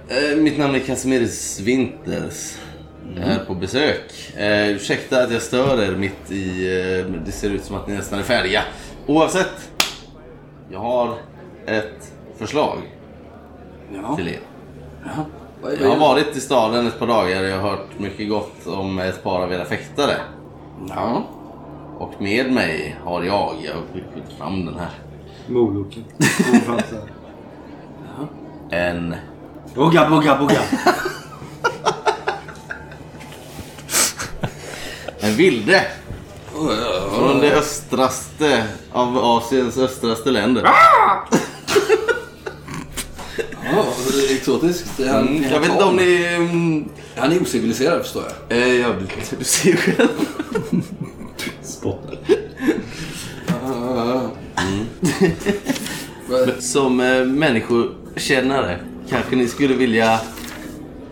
C: Eh, mitt namn är Casimiris Winters. Jag är på besök. Eh, ursäkta att jag stör er mitt i... Eh, men det ser ut som att ni nästan är färdiga. Oavsett. Jag har ett förslag till er.
E: Vad är-
C: Jag
E: vad
C: har
E: är-
C: varit i staden ett par dagar och jag har hört mycket gott om ett par av era fäktare.
E: Ja.
C: Och med mig har jag, jag fick fram den här,
K: Moloken.
C: en...
K: Bugga, bugga, bugga.
C: den vilde. Från det östraste av Asiens östraste länder.
E: Ja, exotiskt. Han,
C: Mm, jag vet inte om ni... mm,
E: Han är ociviliserad förstår jag.
C: Eh, ja, du- du ser ju själv.
E: Spottar.
C: Mm. Men Som eh, människokännare kanske ni skulle vilja,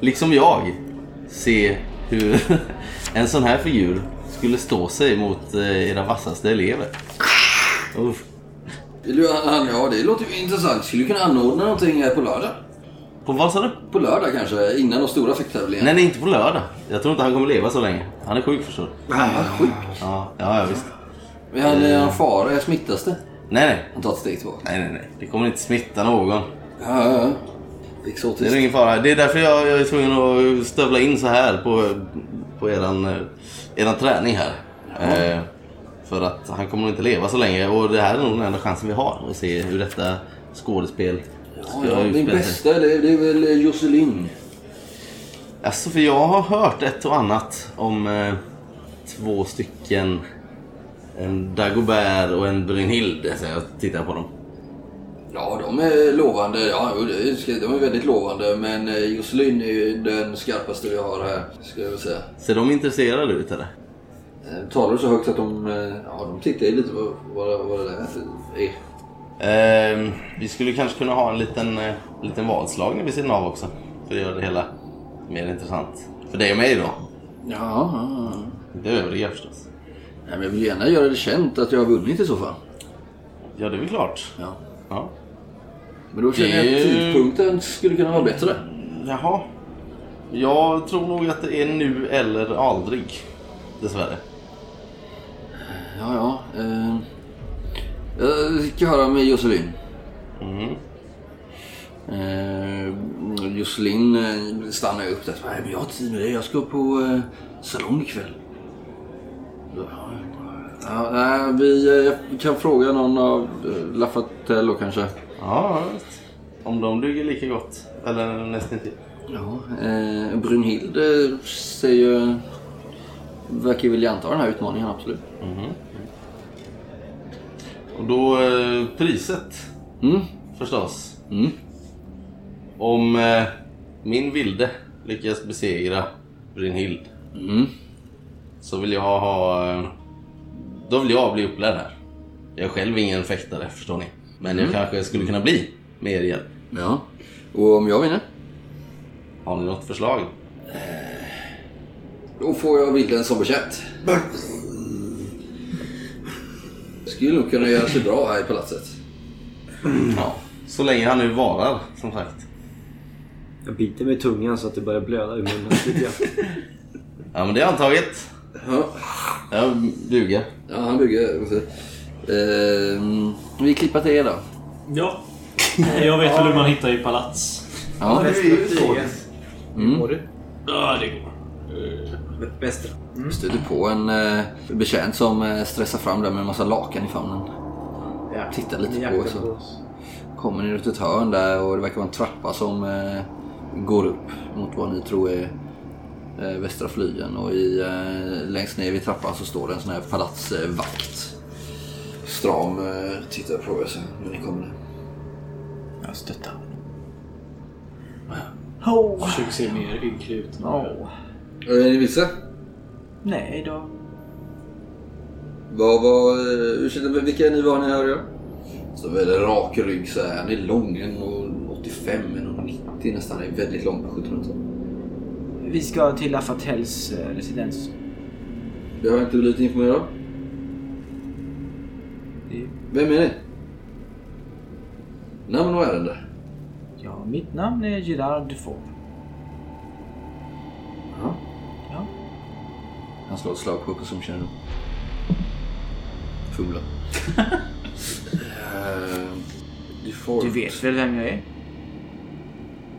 C: liksom jag, se hur en sån här figur skulle stå sig mot eh, era vassaste elever. Uff.
E: Vill du, han, ja, det låter ju intressant. Skulle du kunna anordna någonting här på lördag?
C: På vad sa du?
E: På lördag kanske, innan de stora fäkttävlingarna.
C: Nej, nej, inte på lördag. Jag tror inte han kommer leva så länge. Han är sjuk förstår du.
E: Han är sjuk?
C: Ja, ja, ja visst.
E: Men han är
C: Eh.
E: en fara, jag smittas det?
C: Nej, nej.
E: Han tar ett steg tillbaka.
C: Nej, nej, nej. Det kommer inte smitta någon.
E: Ja, ja, ja.
C: Det
E: Exotiskt.
C: är ingen fara. Det är därför jag, jag är tvungen att stövla in så här på, på eran, eh, eran träning här. Eh, för att han kommer nog inte leva så länge och det här är nog den enda chansen vi har att se hur detta skådespel
E: Ja, ja, din bästa, det, det är väl eh, Josselin.
C: Alltså för jag har hört ett och annat om eh, två stycken. En Dagobert och en Brynhild. Alltså jag tittar på dem.
E: Ja, de är lovande. Ja, jo, det ska- de är väldigt lovande. Men eh, Josselin är ju den skarpaste vi har här, skulle jag vilja säga.
C: Ser de intresserade ut eller?
E: Eh, Talar du så högt att de, eh, ja, de tittar ju lite på vad, vad det där är.
C: Ehm, vi skulle kanske kunna ha en liten, eh, liten valslagning vid sidan av också. För det gör det hela mer intressant. För dig och mig då.
E: Ja, ja, ja.
C: Inte övriga förstås.
E: Nej, men jag vill gärna göra det känt att jag har vunnit i så fall.
C: Ja, det är väl klart.
E: Ja.
C: Ja.
E: Men då känner jag att
C: Det-
E: tidpunkten skulle kunna vara bättre.
C: Jaha. Jag tror nog att det är nu eller aldrig. Dessvärre.
E: Ja, ja. Eh, jag ska höra med Josselin.
C: Mm.
E: Eh, Josselin eh, stannar ju upp där. Nej, men jag har tid med det. Jag ska på eh, salong ikväll. Ja, Ja, nej, vi eh, kan fråga någon av eh, Lafatello kanske.
C: Ja, visst. Om de duger lika gott. Eller nästan inte.
E: Ja, eh, Brynhild eh, ser ju... Verkar ju vilja anta den här utmaningen, absolut.
C: Och då eh, priset.
E: Mm.
C: Förstås. Om eh, min vilde lyckas besegra Brynhild. Så vill jag ha... eh, Då vill jag bli upplärd här. Jag är själv ingen fäktare förstår ni. Men
E: Mm.
C: jag kanske skulle kunna bli med er hjälp.
E: Ja. Och om jag vinner?
C: Har ni något förslag?
E: Då får jag vilden som bekänt. Skulle nog kunna göra sig bra här i palatset.
C: Ja, så länge han nu varar som sagt.
K: Jag biter mig i tungan så att det börjar blöda ur munnen lite grann.
C: Ja men det är antaget.
E: Ja.
C: Jag duger.
E: Ja, han bygger. Ehm, vi klipper till er då.
F: Ja. Jag vet väl hur man hittar i palats.
E: Ja, det är ju Mm.
F: Går det? Ja, det går.
E: Västra. Stöter på en eh, betjänt som eh, stressar fram där med en massa lakan i famnen. Tittar lite på oss. och Kommer ni ut ett hörn där och det verkar vara en trappa som eh, går upp mot vad ni tror är eh, västra flygeln. Och i, eh, längst ner vid trappan så står det en sån här palatsvakt. Stram eh, tittar på er sen när ni kommer ner.
D: Jag stöttar.
F: Oh. Försök se mer ynklig ut.
E: Är ni vilse?
D: Nej då.
E: Vad var... eh, Ursäkta, men vilka är ni var ni här att göra? Så väldigt rak rygg så här. Han är lång, 85, 90 nästan. Han är väldigt lång på 1700-talet.
D: Vi ska till Lafatels eh, residens.
E: Det har jag inte blivit informerad om. Vem är ni? Namn och ärende?
D: Ja, mitt namn är Gerard Dufour.
E: Ja.
D: Ja.
E: Han slår ett slag på konsumtion. Fula. Eh, du, får...
D: Du vet väl vem jag är?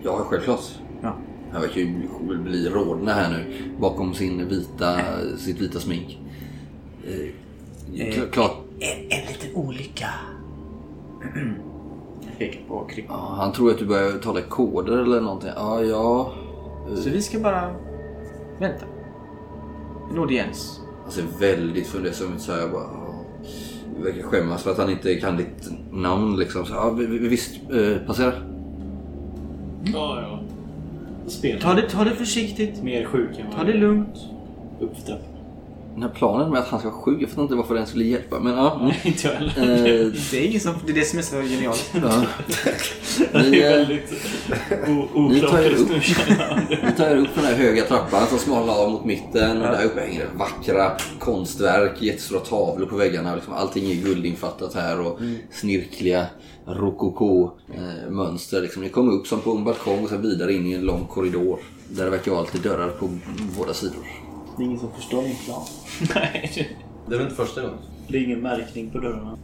E: Ja, självklart.
D: Ja.
E: Han verkar ju bli rodna här nu bakom sin vita, sitt vita smink. Eh, kl- klart.
D: En, en liten olycka. Jag pekar på Kripp.
E: Ja, han tror att du börjar tala i koder eller någonting. Ja, ja.
D: Så vi ska bara vänta. En audiens.
E: Han Han ser väldigt fundersam ut så här. Jag bara, "Ja." verkar skämmas för att han inte kan ditt namn liksom. Så, ja, vi- vi- visst, eh, passera.
F: Ja, ja. Spel.
D: Ta det, ta det försiktigt.
F: Mer sjuk än vad
D: Ta det lugnt.
F: Upp för trappen.
E: Den här planen med att han ska vara sjuk, jag fattar inte varför den skulle hjälpa. Men ja. Mm.
F: Inte jag
E: Eh,
D: Det är ingen som... Det är det som är så genialt.
E: Ja. Ni,
D: Det är
E: eh,
D: väldigt o-
E: ni tar er
D: oklart just
E: upp-
D: nu, känner
E: Ni tar er upp den här höga trappan som smalnar av mot mitten. Och där uppe hänger det vackra konstverk, jättestora tavlor på väggarna. Liksom allting är guldinfattat här och
D: Mm.
E: snirkliga rokoko-mönster. Liksom. Ni kommer upp som på en balkong och sen vidare in i en lång korridor. Där det verkar vara lite dörrar på båda sidor.
D: Det är ingen som förstår min plan.
F: Nej.
C: Det är väl inte första gången?
F: Det är ingen märkning på dörrarna.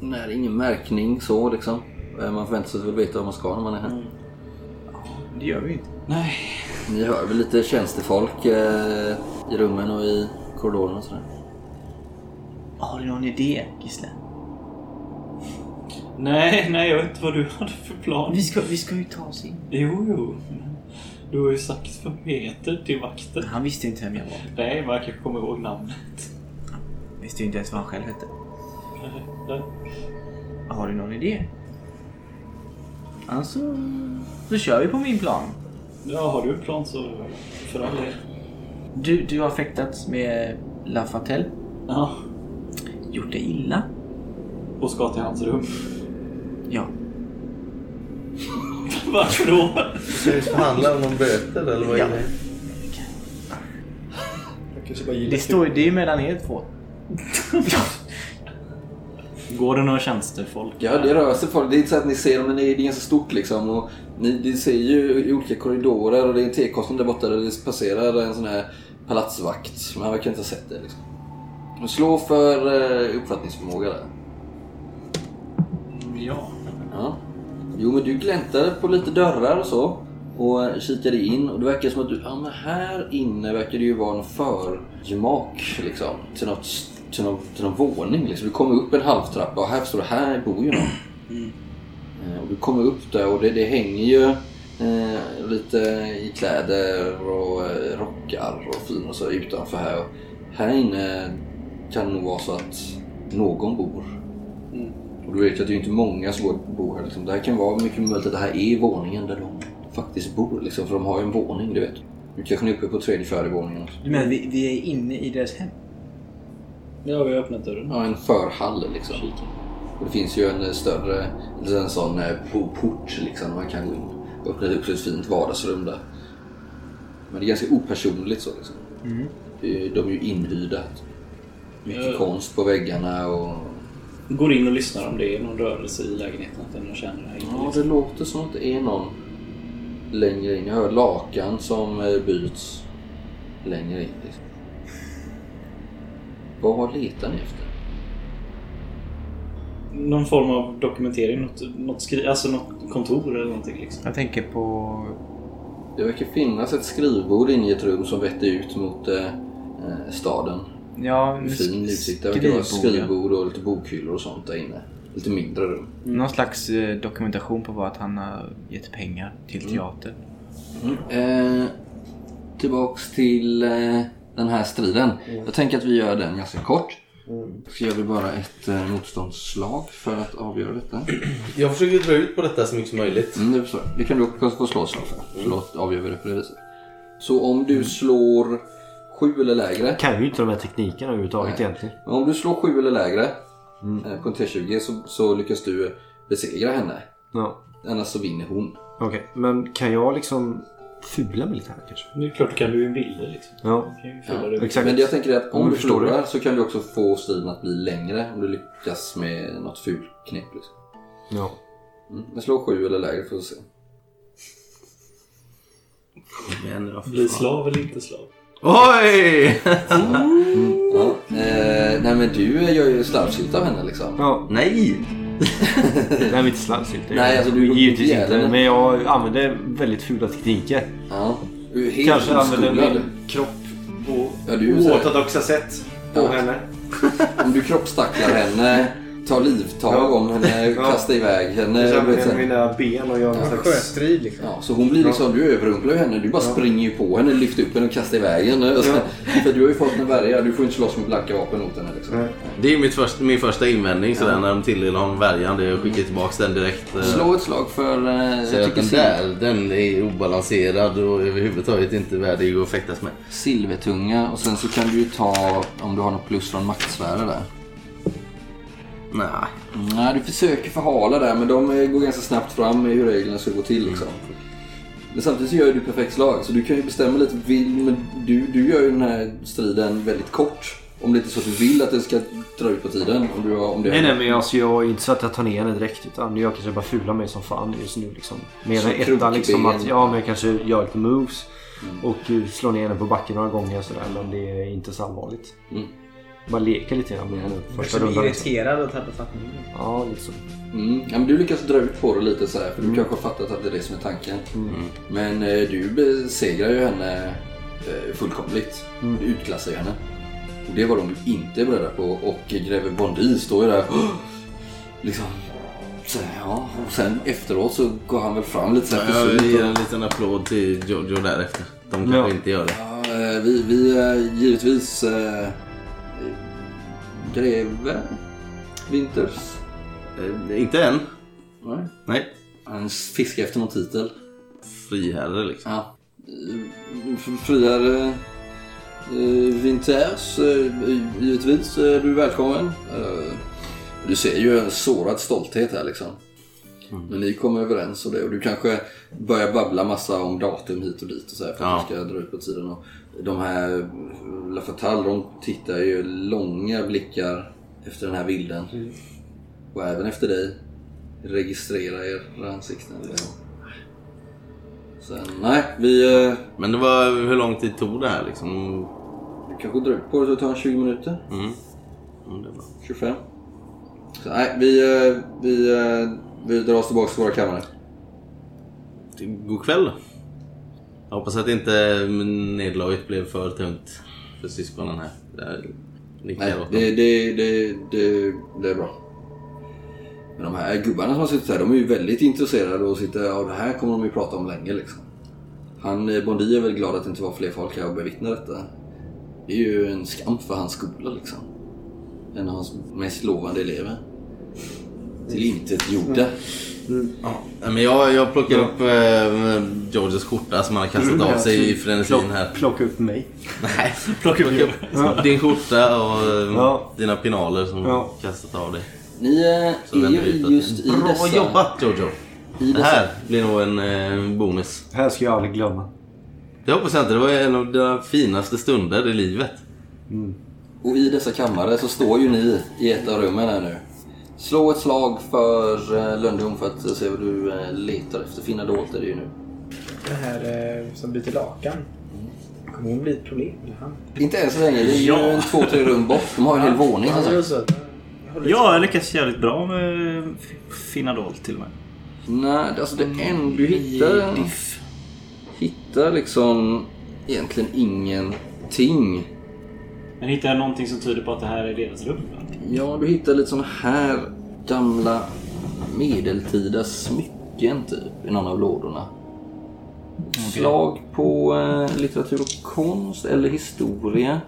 E: Nej, det är ingen märkning så liksom. Eh, Man förväntar sig väl veta vad man ska när man är här.
D: Mm. Det gör vi inte.
E: Nej. Ni hör väl lite tjänstefolk eh, i rummen och i korridoren och sådär.
D: Har du någon idé, Gisle?
F: Nej, nej, jag vet inte vad du hade för plan.
D: Vi ska, vi ska ju ta oss in.
F: Jo, jo. men Du har ju sagt för meter till vakten.
D: Han visste inte vem jag var.
F: Nej, men jag kanske kommer ihåg namnet.
D: Visste ju inte ens vad han själv hette.
F: Nej, nej.
D: Har du någon idé? Alltså, då kör vi på min plan.
F: Ja, har du en plan så för all del.
D: Du, du har fäktats med Lafatel.
F: Ja.
D: Gjort dig illa.
F: Och ska till hans rum.
D: Ja.
F: Varför då?
C: Ska vi förhandla om någon böter eller vad är
D: Ja.
C: det?
D: Det står ju det är ju mellan er två.
F: Går det några tjänstefolk?
E: Ja, det rör sig folk. Det är inte så att ni ser dem, men det är ganska stort liksom. Och ni, ni ser ju i olika korridorer och det är en tekostom där borta där det passerar en sån här palatsvakt. Men han verkar inte ha sett det liksom. Men Slå för eh, uppfattningsförmåga där.
F: Ja.
E: Ja. Jo, men du gläntade på lite dörrar och så och eh, kikade in och det verkar som att du, ja men här inne verkar det ju vara en förgemak liksom till något, till någon, till någon våning liksom. Du kommer upp en halvtrappa och här står det, här bor ju någon. Eh, Och du kommer upp där och det, det hänger ju eh, lite i kläder och eh, rockar och fin och så utanför här. Och här inne kan det nog vara så att någon bor. Och du vet ju att det är inte många som bor- bor här. Liksom. Det här kan vara mycket möjligt att det här är våningen där de faktiskt bor. Liksom, för de har ju en våning, du vet. Nu kanske ni är uppe på tredje, fjärde våningen.
D: Du menar vi, vi är inne i deras hem?
F: Ja, vi har öppnat dörren.
E: Ja, en förhall liksom. Och det finns ju en eh, större, eller en sån eh, po- port liksom, där man kan gå in. Öppna upp till ett fint vardagsrum där. Men det är ganska opersonligt så liksom.
D: Mm.
E: Det är- De är ju inhyrda. Mycket
F: Ja.
E: konst på väggarna och...
F: Går in och lyssnar om det är någon rörelse i lägenheten. Att det är någon känner här inne. liksom.
E: Ja, det låter som att det är någon längre in. Jag hör lakan som eh, byts längre in. Liksom. Vad letar ni efter?
F: Någon form av dokumentering, något, något, skri- alltså något kontor eller någonting liksom.
D: Jag tänker på...
E: Det verkar finnas ett skrivbord inne i ett rum som vetter ut mot eh, eh, staden.
D: Ja,
E: Med
D: sk-
E: fin utsikt. Det verkar vara
D: skrivbord, ja.
E: skrivbord och lite bokhyllor och sånt där inne. Lite mindre rum.
D: Någon slags eh, dokumentation på vad att han har gett pengar till
K: Mm.
D: teater.
E: Eh, tillbaks till eh, den här striden.
K: Mm.
E: Jag tänker att vi gör den ganska kort. Så gör vi bara ett eh, motståndsslag för att avgöra detta.
C: Jag försöker dra ut på detta så mycket som möjligt.
E: Mm, det förstår jag. Det kan du också få slå ett slag
K: Mm.
E: för. Så låt- avgör vi det på det viset. Så om du slår sju eller lägre.
K: Kan ju inte de här teknikerna överhuvudtaget
E: Nej.
K: egentligen. Mm.
E: Men om du slår sju eller lägre eh, på en T20 så, så lyckas du besegra henne.
K: Ja.
E: Annars så vinner hon.
K: Okej, men kan jag liksom fula mig lite här kanske?
F: Det är klart du kan, du är en vilde liksom.
K: Ja.
F: Du kan ju fylla
E: Ja,
F: det med-
K: exakt.
E: Men jag tänker att
K: Om
E: om
K: du
E: du
K: förstår det.
E: förlorar så kan du också få striden att bli längre om du lyckas med något fult knep. Liksom.
K: Ja.
E: Mm. Men slå sju eller lägre får vi se.
F: Bli slav eller inte slav?
K: Oj!
E: Ja. Eh, nej men du gör ju slarvsylta av henne liksom.
K: Ja.
E: Nej!
K: Nej, men inte slarvsylta.
E: Nej, alltså, du-
K: Givetvis
E: du-
K: inte. Men jag använder väldigt fula tekniker.
E: Ja. Du är helt
K: Kanske använder
E: oskolad.
K: min kropp på
E: Ja, du är så här-
K: oortodoxa sätt på
E: Ja.
K: henne.
E: Om du kroppstacklar henne tar livtag om henne,
H: Ja.
E: kastar iväg henne.
H: Jag
E: vet
H: med
E: sen.
H: mina ben och gör någon slags...
E: Sjöstrid liksom. Ja, så hon blir liksom, du överrumplar ju henne. Du bara springer ju på henne, lyfter upp henne och kastar iväg henne. Och sen, För du har ju fått en värja, du får inte slåss med blanka vapen mot henne liksom.
C: Det är mitt först, min första invändning sådär när de tilldelar honom värjan. Det är att skicka tillbaka den direkt. eh.
E: Slå ett slag för... eh,
C: Säg
E: jag
C: att
E: tycker
C: den
E: sil-
C: där, den är obalanserad och överhuvudtaget inte värdig att fäktas med.
E: silvertunga och sen så kan du ju ta om du har något plus från maktsfären där.
C: Nej.
E: Nej, du försöker förhala där men de eh, går ganska snabbt fram med hur reglerna ska gå till liksom. Men samtidigt så gör du perfekt slag så du kan ju bestämma lite. Vill, men du, du gör ju den här striden väldigt kort. Om det inte är så att du vill att det ska dra ut på tiden. Om du, har- om det
K: Nej, nej, men alltså, jag är inte så att jag tar ner henne direkt. Utan jag kanske bara fular mig som fan just nu. Liksom. Mer
E: Så
K: än ettan liksom.
E: krokben.
K: Att, ja, men jag kanske gör lite moves.
C: Mm.
K: Och eh, slår ner henne på backen några gånger sådär. Men det är inte så allvarligt.
E: Mm.
K: Bara leker lite grann med henne första
L: blir
K: rundan. liksom.
L: irriterad och tappar fattningen.
K: Ja, liksom.
E: Mm. Ja, men du lyckas dra ut på det lite så här, för du
C: Mm.
E: kanske har fattat att det är det som är tanken. Men eh, du besegrar ju henne eh, fullkomligt.
K: Mm.
E: Du utklassar ju henne. Och det var de ju inte beredda på och greve Bondi står ju där liksom. Så, här, ja. Och sen efteråt så går han väl fram lite så här
C: Ja, vi
E: försynt
C: ger
E: och-
C: en liten applåd till Giorgio därefter. De kanske
E: Ja.
C: inte gör det.
E: Ja, eh, vi, vi eh, givetvis eh, eh, greve Winters.
C: Eh, inte än.
E: Nej.
C: Nej.
E: Han fiskar efter någon titel.
C: Friherre liksom.
E: Ja. Eh, f- Friare eh, Winters, eh, givetvis. eh, Du är välkommen. Eh, Du ser ju en sårad stolthet här liksom. Men ni kommer överens och det och du kanske börjar babbla massa om datum hit och dit och så här för att det ska dra ut på tiden. Och de här La Fatale, de tittar ju långa blickar efter den här bilden. Och även efter dig. Registrera era ansikten. Sen, nej, vi... eh,
C: Men det var, hur lång tid tog det här liksom?
E: Du kanske drar ut på det så det tar en 20 minuter.
C: Mm. Mm, det var.
E: 25. Så, nej, vi, eh, vi, eh, vi drar oss tillbaka till våra kammare.
C: God kväll då. Jag hoppas att inte nederlaget blev för tungt för syskonen här. Jag nickar
E: Nej,
C: åt dem.
E: det, det, det, det, det är bra. Men de här gubbarna som har suttit här, de är ju väldigt intresserade och sitter, ja det här kommer de ju prata om länge liksom. Han, eh, Bondi är väl glad att det inte var fler folk här och bevittna detta. Det är ju en skam för hans skola liksom. En av hans mest lovande elever. Till intet gjorda.
C: Ja, men jag, jag plockar upp eh, Georges skjorta som han har kastat
K: Mm,
C: av
K: ja,
C: sig i
K: så
C: frenesin
K: plock-
C: här.
K: Plocka upp mig.
C: Nej,
K: plocka upp
C: upp din skjorta och eh,
K: Ja.
C: dina pinaler som
K: Ja.
C: kastat av dig.
E: Ni eh,
C: Så vänder
E: är
C: vi
E: ju
C: utåt
E: just i
C: igen. Bra
E: dessa...
C: jobbat Jojo!
E: I
C: Det
E: dessa-
C: här blir nog en eh, bonus.
K: Det här ska jag aldrig glömma.
C: Det hoppas jag inte. Det var en av dina finaste stunder i livet.
E: Och i dessa kammare så står ju ni i ett av rummen här nu. Slå ett slag för eh, lönndom för att se vad du eh, letar efter. Finna dolt är det ju nu.
L: Den här eh, som byter lakan. Kommer hon bli ett problem? eller han?
E: Inte än så länge. Det är ju
L: Ja.
E: en två, tre rum bort. De har en hel våning. alltså.
L: Ja, det är så.
J: Ja, jag lyckas jävligt bra med f- finna dolt till och med.
E: Nej, alltså
L: Mm,
E: det en du hittar... Hittar liksom egentligen ingenting.
J: Men hittar jag någonting som tyder på att det här är deras rum? va?
E: Ja, du hittar lite såna här gamla medeltida smycken typ i någon av lådorna. Slag på eh, litteratur och konst eller historia.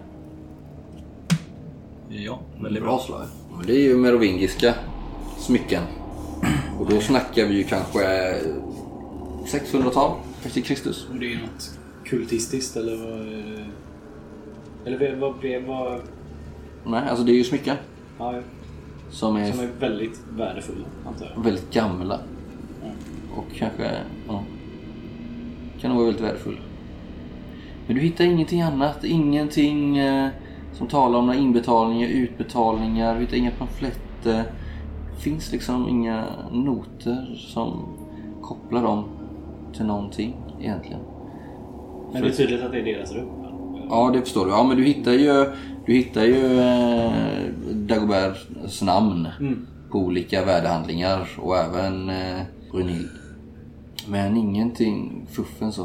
J: Ja,
E: väldigt bra slag. Men det är ju merovingiska smycken. Och då snackar vi ju kanske eh, 600-tal efter Kristus.
F: Och det är något kultistiskt eller vad... är det? Eller vad blev... Vad...
E: Nej, alltså det är ju smycken
F: Ja,
E: som är
F: som är väldigt värdefulla, antar jag.
E: väldigt gamla. Och kanske, ja. Kan nog vara väldigt värdefull. Men du hittar ingenting annat. Ingenting eh, som talar om några inbetalningar, utbetalningar. Du hittar inga pamfletter. Det finns liksom inga noter som kopplar dem till någonting egentligen.
F: Men det är tydligt att det är deras rum. va?
E: Ja, det förstår du. Ja, men du hittar ju, du hittar ju eh, Dagoberts namn
F: Mm.
E: på olika värdehandlingar och även eh, Brunhild. Men ingenting fuffen så.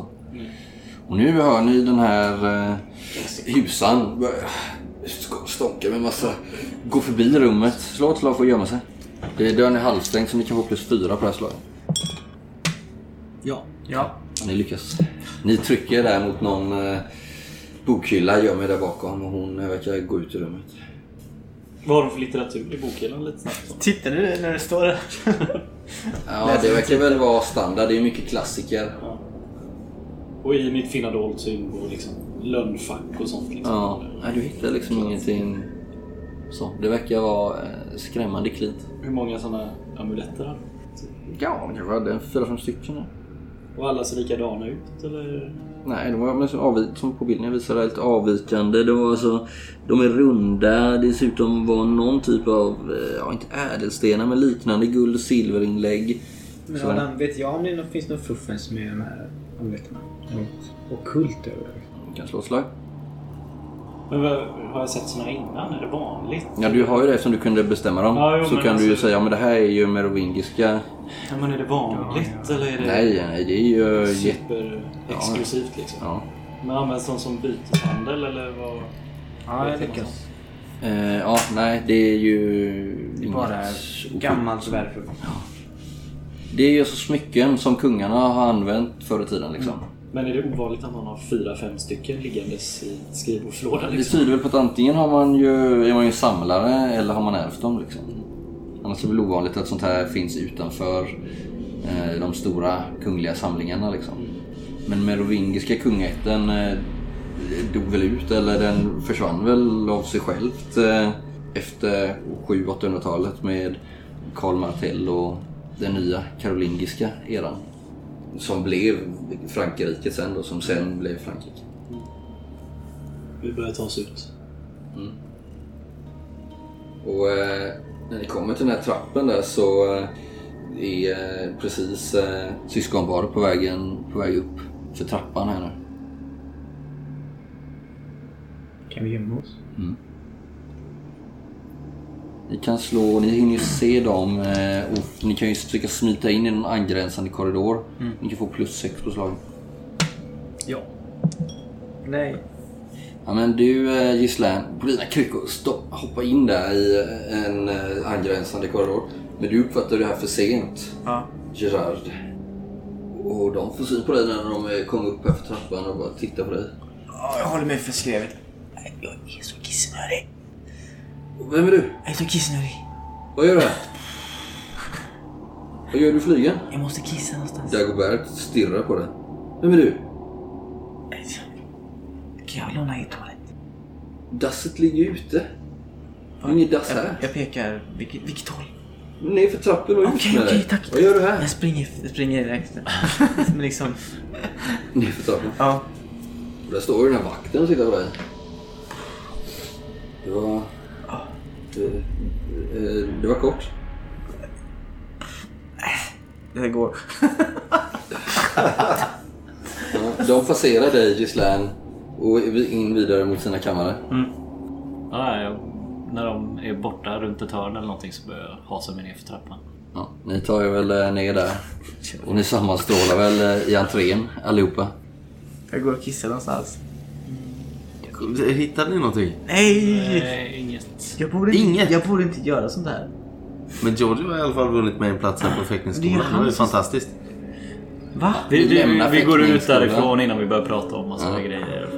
E: Och nu hör ni den här eh, husan sk- stånkar med massa... Går förbi rummet. Slå ett slag för att gömma sig. Det är dörren är halvstängd så ni kan få plus fyra på det här slaget.
D: Ja. Ja.
E: Ni lyckas. Ni trycker där mot någon eh, bokhylla, gömmer där bakom och hon eh, verkar gå ut ur rummet.
F: Vad har de för litteratur i bokhyllan lite snabbt?
D: Tittar du när det står där?
E: Ja, det verkar väl vara standard. Det är mycket klassiker.
F: Och i mitt fina dolt så ingår liksom lönnfack och sånt. Liksom.
E: Ja, nej, du hittar liksom ingenting så. Det verkar vara eh, skrämmande klint.
F: Hur många sådana amuletter har du?
E: Ja, men kanske hade fyra, fem stycken. nu.
F: Och alla ser likadana ut eller?
E: Nej, de var men så avvik- som på bilden jag visade lite avvikande. Det var alltså, de är runda, dessutom var någon typ av, eh, ja inte ädelstenar men liknande guld och silverinlägg.
L: Men
E: Så-
L: Adam, vet jag om det finns någon fuffens med de här amuletterna? Och kult överlag?
E: Du kan slå ett slag.
F: Men vad, har jag sett såna innan? Är det vanligt?
E: Ja, du har ju det som du kunde bestämma dem.
F: Ja, jo,
E: så
F: men
E: kan du ju
F: alltså- Eh.
E: säga, ja men det här är ju merovingiska.
F: Ja, men är det vanligt eller är det
E: Nej, nej, det är ju... jätte-
F: superexklusivt liksom?
E: Ja.
F: Men används de som byteshandel eller vad?
L: Ja, jag
F: Vet du
L: lyckas.
F: något sånt?
E: Eh, ja, nej, det är ju... inget
L: Bara
E: okult.
L: gammalt värdefullt.
E: Det är ju alltså smycken som kungarna har använt förr i tiden liksom.
F: Men är det ovanligt att man har fyra, fem stycken liggandes i en skrivbordslåda?
E: Det
F: Liksom?
E: tyder väl på att antingen har man ju, är man ju samlare eller har man ärvt dem. Liksom. Annars är det väl ovanligt att sånt här finns utanför eh, de stora kungliga samlingarna. Liksom. Men merovingiska kungaätten eh, dog väl ut, eller den försvann väl av sig självt eh, efter 700-800-talet med Karl Martell och den nya karolingiska eran. Som blev Frankrike sen då, som sen blev Frankrike.
F: Vi börjar ta oss ut.
E: Och eh, när ni kommer till den här trappen där så eh, är eh, precis eh, syskonparet på, vägen, på väg upp för trappan här nu.
L: Kan vi gömma oss?
E: Mm. Ni kan slå, ni hinner ju se dem eh, och ni kan ju försöka smita in i någon angränsande korridor.
D: Mm.
E: Ni kan få plus sex på slagen.
D: Ja. Nej.
E: Ja men du eh, Gislan, på dina kryckor, stopp, hoppa in där i eh, en eh, angränsande korridor. Men du uppfattar det här för sent,
D: Ja.
E: Gerard. Och de får syn på dig när de eh, kommer upp här för trappan och bara tittar på dig.
D: Ja, Jag håller mig för skrevet. Nej, Jag är så kissnödig.
E: Vem är du?
D: Jag är så kissnödig.
E: Vad gör du här? Vad gör du flygen?
D: Jag måste kissa någonstans.
E: Dagobert stirrar på dig. Vem är du?
D: Kan jag låna er toalett?
E: Dasset ligger ute. Det är inget dass här.
D: Jag, jag pekar. Vilket, vilket håll?
E: Ner för trappen och ut
D: Okej,
E: med
D: okej,
E: dig.
D: tack.
E: Vad gör du här?
D: Jag springer, jag springer direkt. Men liksom...
E: Ner för trappen.
D: Ja.
E: Och där står ju den här vakten och tittar på dig. Det var... Det, eh, det var kort.
D: Det går.
E: Ja, De passerar dig Gislaine och in vidare mot sina kammare.
J: Ja, jag, när de är borta runt ett hörn eller någonting så börjar jag hasa mig ner för trappan.
E: Ja, ni tar er väl eh, ner där. Och ni sammanstrålar väl eh, i entrén allihopa.
D: Jag går och kissar någonstans.
C: Hittade ni någonting?
D: Nej!
J: inget.
D: Jag borde, Inget. jag borde inte göra sånt här.
C: Men Georgie har i alla fall vunnit med en plats här på fäktningsskolan.
D: Det är
C: Det var ju
D: han som-
C: fantastiskt.
D: Va?
J: Vi,
C: Vi
J: vi,
C: lämnar
J: vi går ut
C: fäktningsskolan.
J: därifrån innan vi börjar prata om massa grejer.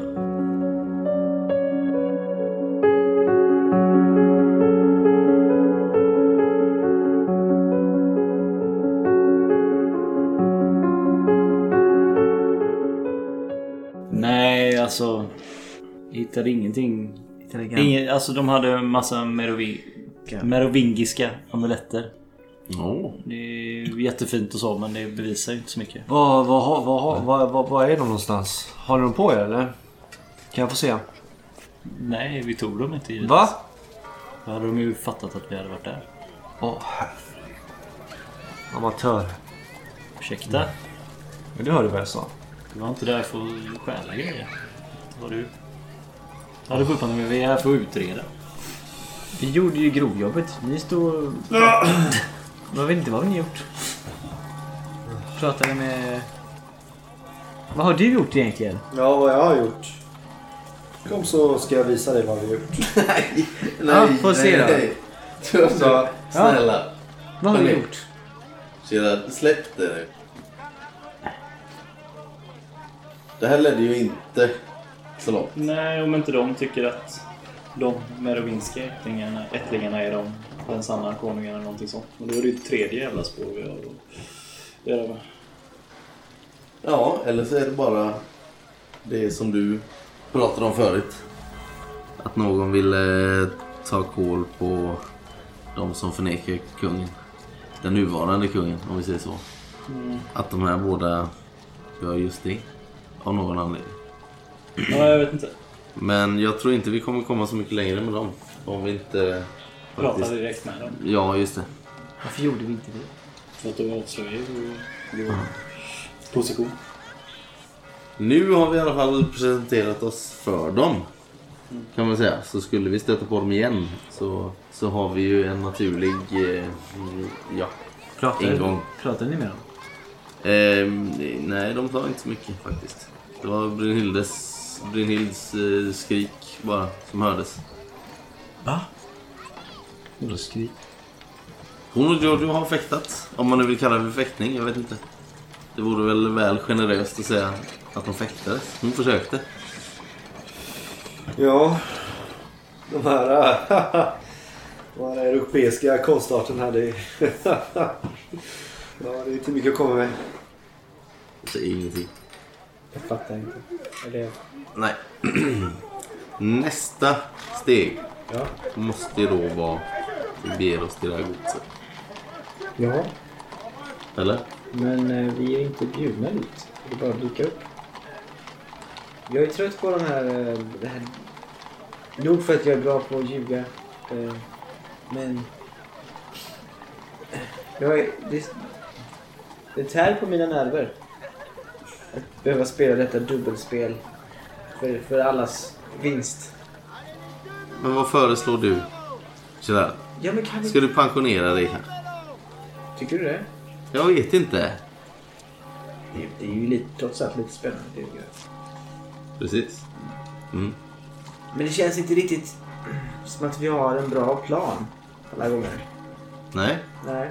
J: Nej, alltså. jag Hittade ingenting.
D: Hittade grann.
J: Ingen, alltså de hade en massa merovi, merovingiska amuletter. Det är jättefint och så men det bevisar ju inte så mycket.
K: Vad vad- vad- vad- vad- vad är de någonstans? Har ni dem på er eller? Kan jag få se?
J: Nej, vi tog dem inte givetvis.
K: Va?
J: Då hade de ju fattat att vi hade varit där.
K: Åh herregud. Amatör.
J: Ursäkta?
K: Men du hörde vad jag sa.
J: Du var inte där för att stjäla grejer. Det var du. Ja, du får uppfatta mig. Vi är här för att utreda.
D: Vi gjorde ju grovjobbet. Ni stod... Jag vet inte vad ni gjort. Pratade med... Vad har du gjort egentligen?
H: Ja, vad jag har gjort. Kom så ska jag visa dig vad vi har gjort. nej,
C: Ja, får se då. Så, snälla.
H: Vad har
C: Kom
H: vi
C: in.
H: gjort?
C: Gerard, släpp det nu. Det här ledde ju inte så långt.
M: Nej, om inte de tycker att de merovinska ättlingarna, ättlingarna är de den sanna konungen eller någonting sånt. Men då är det ju ett tredje jävla spår vi har att göra med.
C: Ja, eller så är det bara det som du pratade om förut. Att någon ville eh, ta koll på de som förnekar kungen. Den nuvarande kungen, om vi säger så.
M: Mm.
C: Att de här båda gör just det. Av någon anledning.
M: Ja, jag vet inte.
C: Men jag tror inte vi kommer komma så mycket längre med dem. Om vi inte...
M: Pratar direkt med dem.
C: Ja, just det.
M: Varför gjorde vi inte det? För att de avslöjar vår, vår position.
C: Nu har vi i alla fall presenterat oss för dem. Kan man säga. Så skulle vi stöta på dem igen så, så har vi ju en naturlig eh, ja, ingång.
D: Pratar ni med dem?
C: Ehm, nej, de sa inte så mycket faktiskt. Det var Brynhildes, Brynhilds eh, skrik bara som hördes.
D: Va?
C: Vadå skrik? Hon och Giorgio har fäktat. Om man nu vill kalla det för fäktning, jag vet inte. Det vore väl väl generöst att säga att de fäktades. Hon försökte.
H: Ja, de här, de här europeiska konstarten här. Det, ja, det är inte mycket att komma med.
C: Jag säger ingenting.
L: Jag fattar inte. Eller...
C: Nej. Nästa steg
L: Ja.
C: måste ju då vara att vi beger oss till det här godset.
L: Ja,
C: Eller?
L: men eh, vi är inte bjudna dit. Det bara dyka upp. Jag är trött på den här... eh, Det här... Nog för att jag är bra på att ljuga. eh, Men... Jag är... Det, det tär på mina nerver. Att behöva spela detta dubbelspel. För, för allas vinst.
C: Men vad föreslår du? Gerard?
L: Ja, men kan vi-
C: Ska du pensionera dig här?
L: Tycker du det?
C: Jag vet inte.
L: Det, det är ju lite, trots allt lite spännande. Det jag gör.
C: Precis. Mm.
L: Men det känns inte riktigt som att vi har en bra plan alla gånger.
C: Nej.
L: Nej.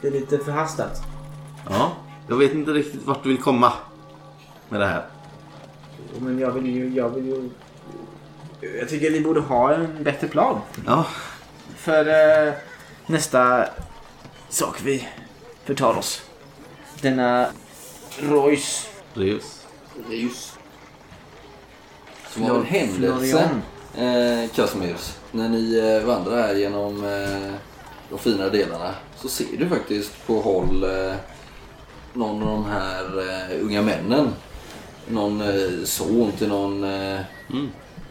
L: Det är lite förhastat.
C: Ja. Jag vet inte riktigt vart du vill komma med det här.
L: Men jag vill ju... Jag, vill ju... jag tycker ni borde ha en bättre plan.
C: Ja.
D: För eh, nästa sak vi förtar oss. Denna Royce.
C: Reus.
E: Reus. Som var en händelse,
D: Florian.
E: eh, Casimirs. När ni eh, vandrar här genom eh, de fina delarna så ser du faktiskt på håll eh, någon av de här eh, unga männen. Någon eh, son till någon eh,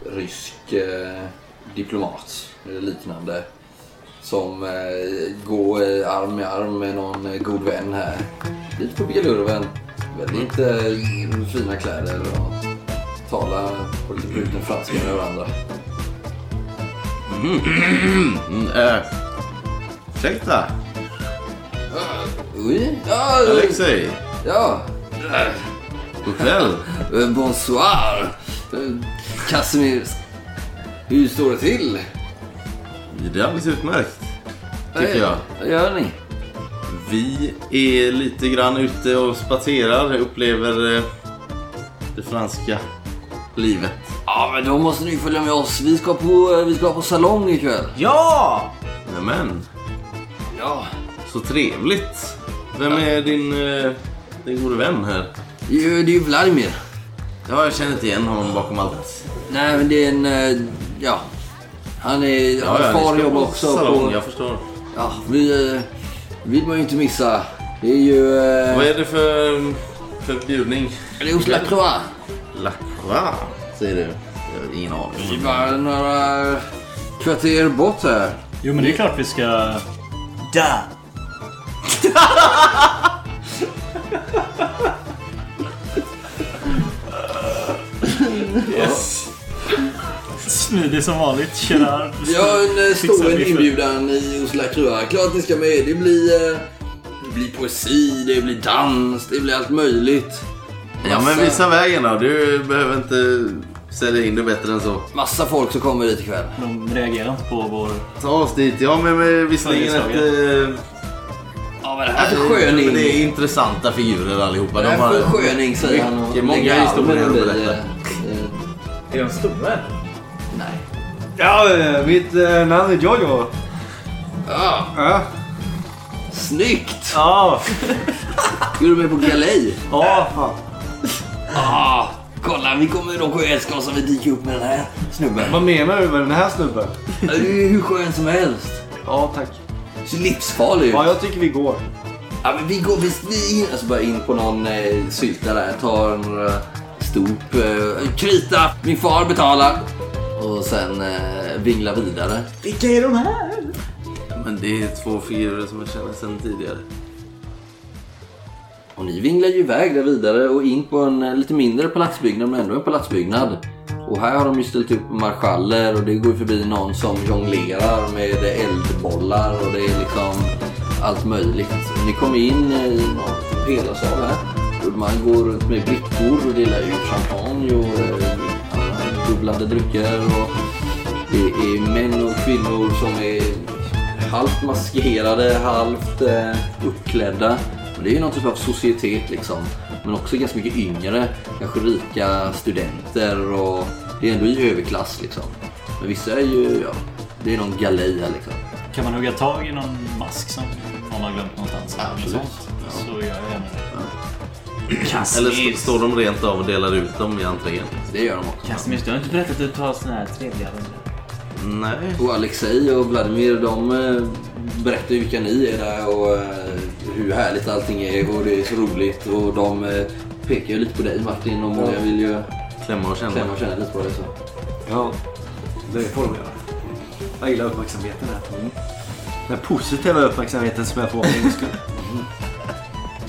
E: rysk eh, diplomat eller liknande. Som eh, går eh, arm i arm med någon eh, god vän här. Lite på galurven. Väldigt eh, fina kläder och talar på lite bruten franska med varandra.
C: Mm, äh. Ursäkta?
E: Oui? Ja, eh,
C: Alexej?
E: Ja.
C: God kväll.
E: Eh, Bonsoir. Eh, Casimir. Hur står det till?
C: Det är alldeles utmärkt. Tycker
E: Eh,
C: jag.
E: Vad gör ni?
C: Vi är lite grann ute och spatserar, upplever eh, det franska livet.
E: Ja, men då måste ni följa med oss. Vi ska på, eh, vi ska på salong ikväll.
D: Ja!
C: Nämen.
E: Ja.
C: Så trevligt. Vem är din, eh, din gode vän här?
E: Jo, det är ju Vladimir.
C: Ja, jag känner inte igen honom bakom allt.
E: Nej, men det är en... eh, Ja. Han är...
C: Ja,
E: hans
C: ja, ni
E: far
C: ska
E: jobbar
C: på
E: också
C: salong,
E: på...
C: jag förstår.
E: Ja, vi... eh, vill man ju inte missa. Det är ju... eh,
C: Vad är det för, för bjudning?
E: Det är hos La Croix.
C: La Croix, säger du. Jag har ingen aning.
E: Det är bara några kvarter bort här.
J: Jo men det är klart vi ska... Där!
M: Yes.
J: Smidig som vanligt, Gerard.
E: Vi har en eh,
J: Fixar
E: stor
J: vi-
E: inbjudan i hos La Croix. Klart ni ska med. Det blir, eh, det blir poesi, det blir dans, det blir allt möjligt.
C: Ja men visa vägen då. Du behöver inte sälja in det bättre än så.
E: Massa folk som kommer dit ikväll.
C: De reagerar inte på vår... Ta oss dit. Ja men, men visserligen ett...
E: Följeslagare.
C: eh,
E: Ja men det här är för
C: men Det är
E: sköning.
C: intressanta figurer allihopa.
E: Det här är för sköning säger han och
C: mycket, många
E: lägger
C: historier att
E: armen i, eh,
C: berätta.
D: Är de stora?
E: Nej.
K: Ja, eh, mitt eh, namn är Jojo.
E: Ja.
K: ja.
E: Snyggt!
K: Ja.
E: Är du med på galej?
K: Ja, fan.
E: Ah, kolla, vi kommer, de kommer älska oss om vi dyker upp med den här snubben.
K: Vad menar du med den här snubben?
E: Ja, Du är ju hur skön som helst.
K: Ja, tack.
E: Du ser livsfarlig ut.
K: Ja, jag tycker vi går.
E: Ja, men vi går visst vi in, alltså bara in på någon eh, sylta där, tar några stop, eh, krita, min far betalar. Och sen eh, vingla vidare.
D: Vilka är de här?
C: Men det är två figurer som jag känner sedan tidigare.
E: Och ni vinglar ju iväg där vidare och in på en eh, lite mindre palatsbyggnad men ändå en palatsbyggnad. Och här har de ju ställt upp marschaller och det går ju förbi någon som jonglerar med eldbollar och det är liksom allt möjligt. Ni kommer in eh, i någon pelarsal här. Och man går runt med brickor och delar ut champagne och eh, andra bubblande drycker. Och det är män och kvinnor som är halvt maskerade, halvt eh, uppklädda. Och det är ju någon typ av societet liksom. Men också ganska mycket yngre, kanske rika studenter och det är ändå i överklass liksom. Men vissa är ju, ja, det är någon galej här liksom.
I: Kan man hugga tag i någon mask som någon har glömt någonstans?
E: Absolut.
I: Så gör jag gärna det.
C: Eller st- står de rent av och delar ut dem i entrén?
E: Det gör de också.
D: Casimir, du har inte berättat att du tar såna här trevliga runder.
C: Nej.
E: Och Alexej och Vladimir de eh, berättar ju vilka ni är där och eh, hur härligt allting är och det är så roligt. Och de eh, pekar ju lite på dig Martin och många vill ju
C: klämma och känna,
E: klämma och känna lite på dig. Så.
K: Ja, det får de göra. Jag gillar uppmärksamheten här. Den positiva uppmärksamheten som jag får av min skull.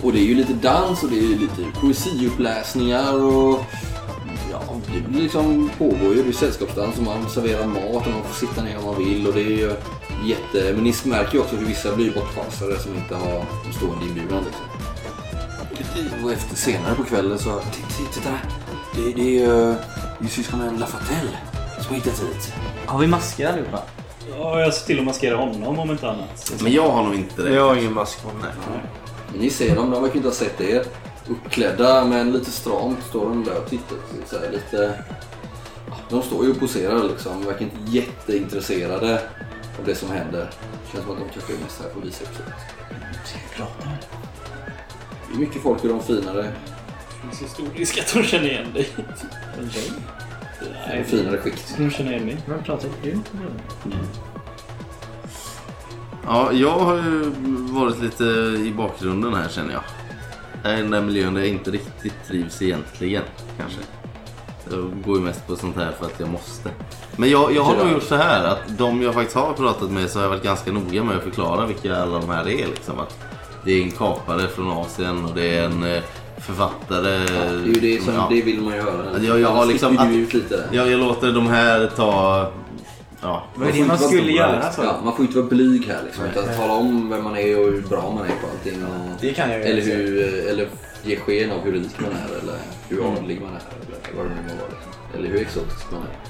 E: Och det är ju lite dans och det är ju lite poesiuppläsningar och ja, det liksom pågår ju. Det är sällskapsdans och man serverar mat och man får sitta ner om man vill och det är ju jätte... Men ni märker ju också hur vissa blir bortfasade som inte har en stående inbjudan liksom. Och efter senare på kvällen så... Titta, titta där! Det, det är ju det är syskonen Lafatelle som har hittat hit.
D: Har vi masker allihopa?
M: Ja, jag ser till att maskera honom om inte annat.
K: Jag har ingen mask på mig.
E: Men ni ser dem, de verkar inte ha sett er. Uppklädda men lite stramt står de där och tittar. Så här, lite... De står ju och poserar liksom, verkar inte jätteintresserade av det som händer. Känns som att de kanske är mest här för att visa upp sig. Det är mycket folk och de finare,
M: Det är så stor risk att de känner igen dig.
E: de finare skikt.
M: De känner igen mig.
D: Men pratar du inte med dem?
C: Ja, jag har ju varit lite i bakgrunden här känner jag. Det här är den där miljön där jag inte riktigt trivs egentligen, kanske. Jag går ju mest på sånt här för att jag måste. Men jag, jag har nog gjort så här att de jag faktiskt har pratat med så har jag varit ganska noga med att förklara vilka alla de här är. Liksom. Att det är en kapare från Asien och det är en eh, författare.
E: Det är ju det som, det vill man ju höra.
C: Att Eh, Jag, jag, har
E: Annars
C: liksom,
E: sticker du
C: att,
E: ut lite där.
C: jag, jag låter de här ta... Ja,
E: får inte vara stora, liksom. Ja, man får inte vara blyg här liksom. Utan
C: Nej.
E: tala om vem man är och hur bra man är på allting. Och,
D: Det kan jag ju
E: eller,
D: också.
E: hur, eller ge sken av hur rik man är eller hur adlig man är. Eller vad det nu må vara. Liksom. Eller hur exotisk man är.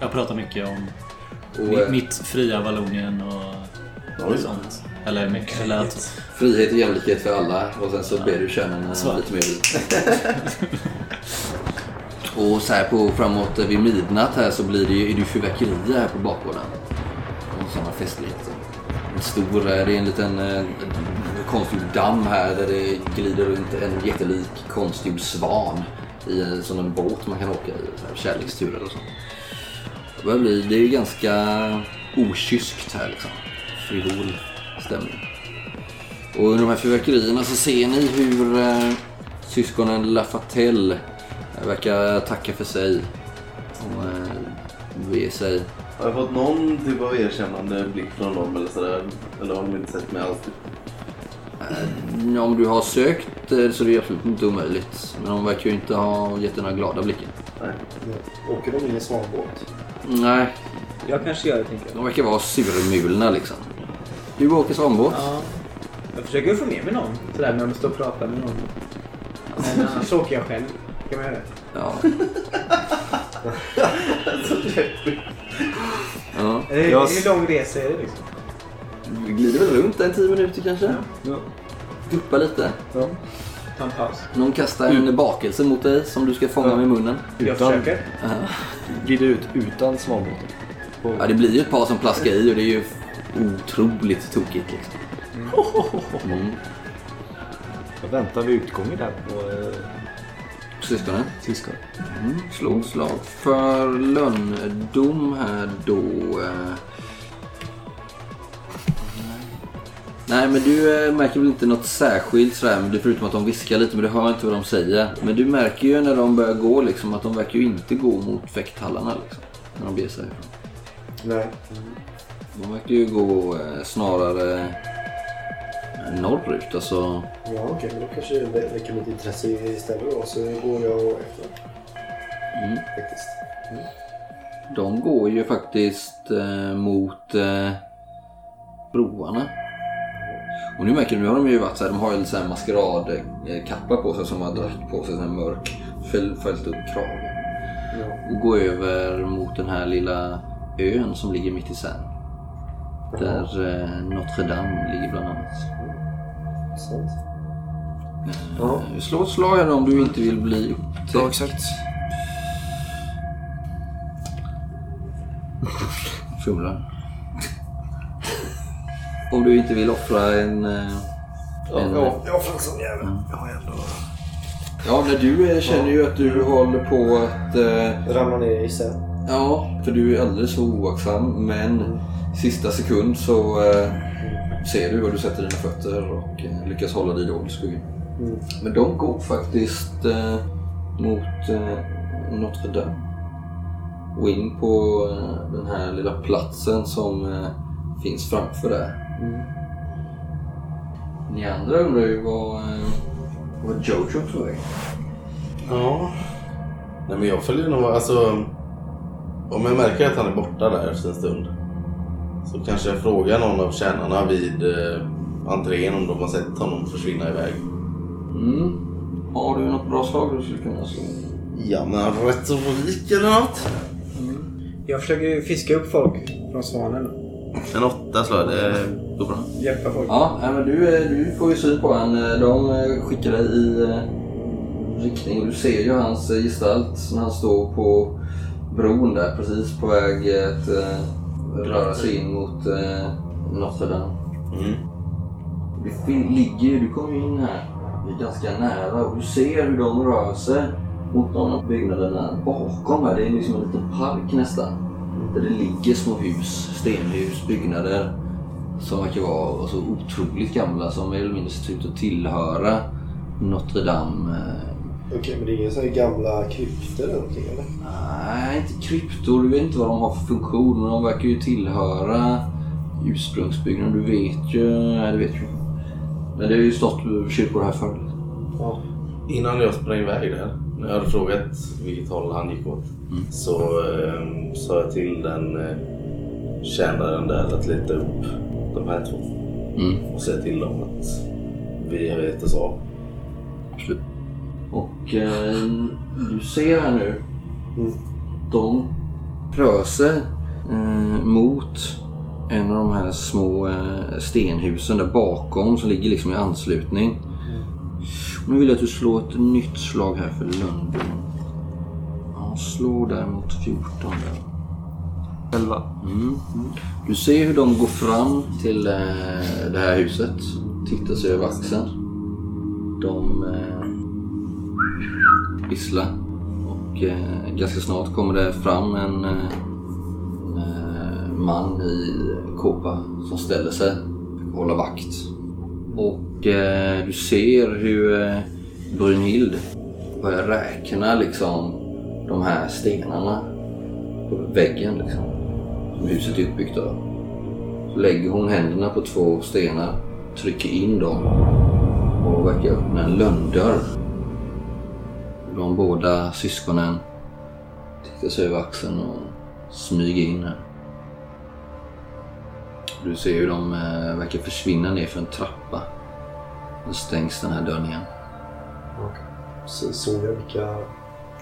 J: Jag pratar mycket om
E: Och,
J: mi-
E: eh,
J: mitt fria Vallonien och
E: Oj.
J: sånt. Eller mycket. Eller att,
E: Frihet och jämlikhet för alla och sen så ber du kärnan
J: Svart.
E: lite mer vit. och så här på framåt eh, vid midnatt här så blir det ju, är det ju fyrverkerier här på bakgården. Och sådana festligheter. En stor, eh, det är en liten eh, en konstgjord damm här där det glider runt en jättelik konstgjord svan i en sån en båt man kan åka i, så här, kärlekstur eller så. Det börjar bli, det är ju ganska okyskt här liksom. Frivol stämning. Och under de här fyrverkerierna så ser ni hur eh, syskonen Lafatelle eh, verkar tacka för sig. Och eh, beger sig.
C: Har jag fått någon typ av erkännande blick från dem eller sådär? Eller har de inte sett mig alls?
E: Eh, om du har sökt eh, så är det absolut inte omöjligt. Men de verkar ju inte ha gett dig några glada blickar.
H: Åker de in i svanbåt?
E: Nej,
D: Jag kanske gör det, tänker
E: de verkar vara surmulna liksom. Du åker svanbåt.
D: Ja. Jag försöker få med mig någon. Sådär när de står och pratar med någon.
L: Så åker jag själv. Kan man göra det?
E: Ja.
L: ja.
E: Ja.
L: Hur, hur lång resa är det liksom?
E: Vi glider väl runt en tio minuter kanske?
L: Ja.
E: Duppa lite.
L: Ta en paus.
E: Någon kastar en bakelse mot dig som du ska fånga med munnen.
L: Jag Utan- försöker.
E: Ja.
K: Glider ut utan svanbåten.
E: Ja, det blir ju ett par som plaskar i och det är ju otroligt tokigt liksom. Mm.
K: Jag väntar vid utgången där på eh,
E: Syskonen?
K: syskonen.
E: Mm. Slå ett slag för lönndom här då. eh. Nej men du eh, märker väl inte något särskilt sådär, men det är förutom att de viskar lite men du hör inte vad de säger. Men du märker ju när de börjar gå liksom att de verkar ju inte gå mot fäkthallarna liksom. När de beger sig härifrån.
H: Nej.
E: De verkar ju gå eh, snarare norrut alltså.
H: Ja, okej. men då kanske det vä- väcker mitt intresse istället då. Så går jag efter.
E: Mm.
H: Faktiskt. Mm.
E: De går ju faktiskt eh, mot eh, broarna. Och nu märker du, nu har de ju varit så här, de har ju lite så här maskeradkappa på sig som har dragit på sig en mörk, fäll- fällt upp krage. Och går över mot den här lilla ön som ligger mitt i Seine. Där eh, Notre Dame ligger bland annat.
H: Sant.
E: Eh, slå ett slag här om du inte vill bli upptäckt. Ja, exakt. Fumlar. om du inte vill offra en... eh, en
H: Ja, jag får en sån jävel.
E: Mm.
H: Jag har ändå...
E: Ja, när du eh, känner ju att du håller på att... Eh,
H: Ramla ner i sen.
E: Ja, för du är alldeles för oaktsam. Men sista sekund så eh, ser du var du sätter dina fötter och eh, lyckas hålla dig dold i skuggan.
H: Mm.
E: Men de går faktiskt eh, mot eh, Notre Dame. Och in på eh, den här lilla platsen som eh, finns framför där. Ni andra undrar ju vad, eh, vad Jojo tog vägen.
C: Ja. Nej men jag följer nog, alltså. Om jag märker att han är borta där efter en stund. Så kanske jag frågar någon av tjänarna vid eh, entrén om de har sett honom försvinna iväg.
E: Mm. Har du något bra slag du skulle kunna slå?
C: Ja men retorik eller något.
L: Jag försöker ju fiska upp folk från svanen.
C: En åtta slår jag, det går bra.
L: Hjälpa folk.
E: Ja, nej, men du, eh, du får ju syn på han. Eh, De eh, skickar dig i eh, riktning och du ser ju hans eh, gestalt när han står på bron där precis på väg eh, att eh, röra sig in mot eh, Notre Dame. Du fin- ligger ju, du kommer ju in här, du är ganska nära och du ser hur de rör sig mot någon av byggnaderna bakom här. Det är liksom en liten park nästan. Där det ligger små hus, stenhus, byggnader som verkar vara så otroligt gamla som mer eller mindre ser ut att tillhöra Notre Dame. eh,
H: Okej, men det är inga sådana gamla kryptor eller någonting eller?
E: Nej, inte kryptor. Du vet inte vad de har för funktion, men de verkar ju tillhöra ursprungsbyggnaden. Du vet ju... Nej, det vet du Men det har ju stått kyrkor här förr.
C: Innan jag sprang iväg där, när jag hade frågat vilket håll han gick åt, så eh, sa jag till den eh, tjänaren där att leta upp de här två.
E: Mm.
C: Och säga till dem att vi har gett oss av.
E: Absolut. Och eh, du ser här nu. De rör sig eh, mot en av de här små eh, stenhusen där bakom som ligger liksom i anslutning. Och nu vill jag att du slår ett nytt slag här för Lundbom. Ja, slå däremot 14 där. 11. Mm. Du ser hur de går fram till eh, det här huset. Tittar sig över axeln. De eh, visslar. Och eh, ganska snart kommer det fram en eh, eh, man i kåpa som ställer sig och håller vakt. Och eh, du ser hur eh, Brynhild börjar räkna liksom de här stenarna på väggen liksom. Som huset är uppbyggt av. Så lägger hon händerna på två stenar, trycker in dem och verkar öppna en lönndörr. De båda syskonen tittar sig över axeln och smyger in här. Du ser hur de eh, verkar försvinna ner för en trappa. Då stängs den här dörren igen.
H: så- såg jag vilka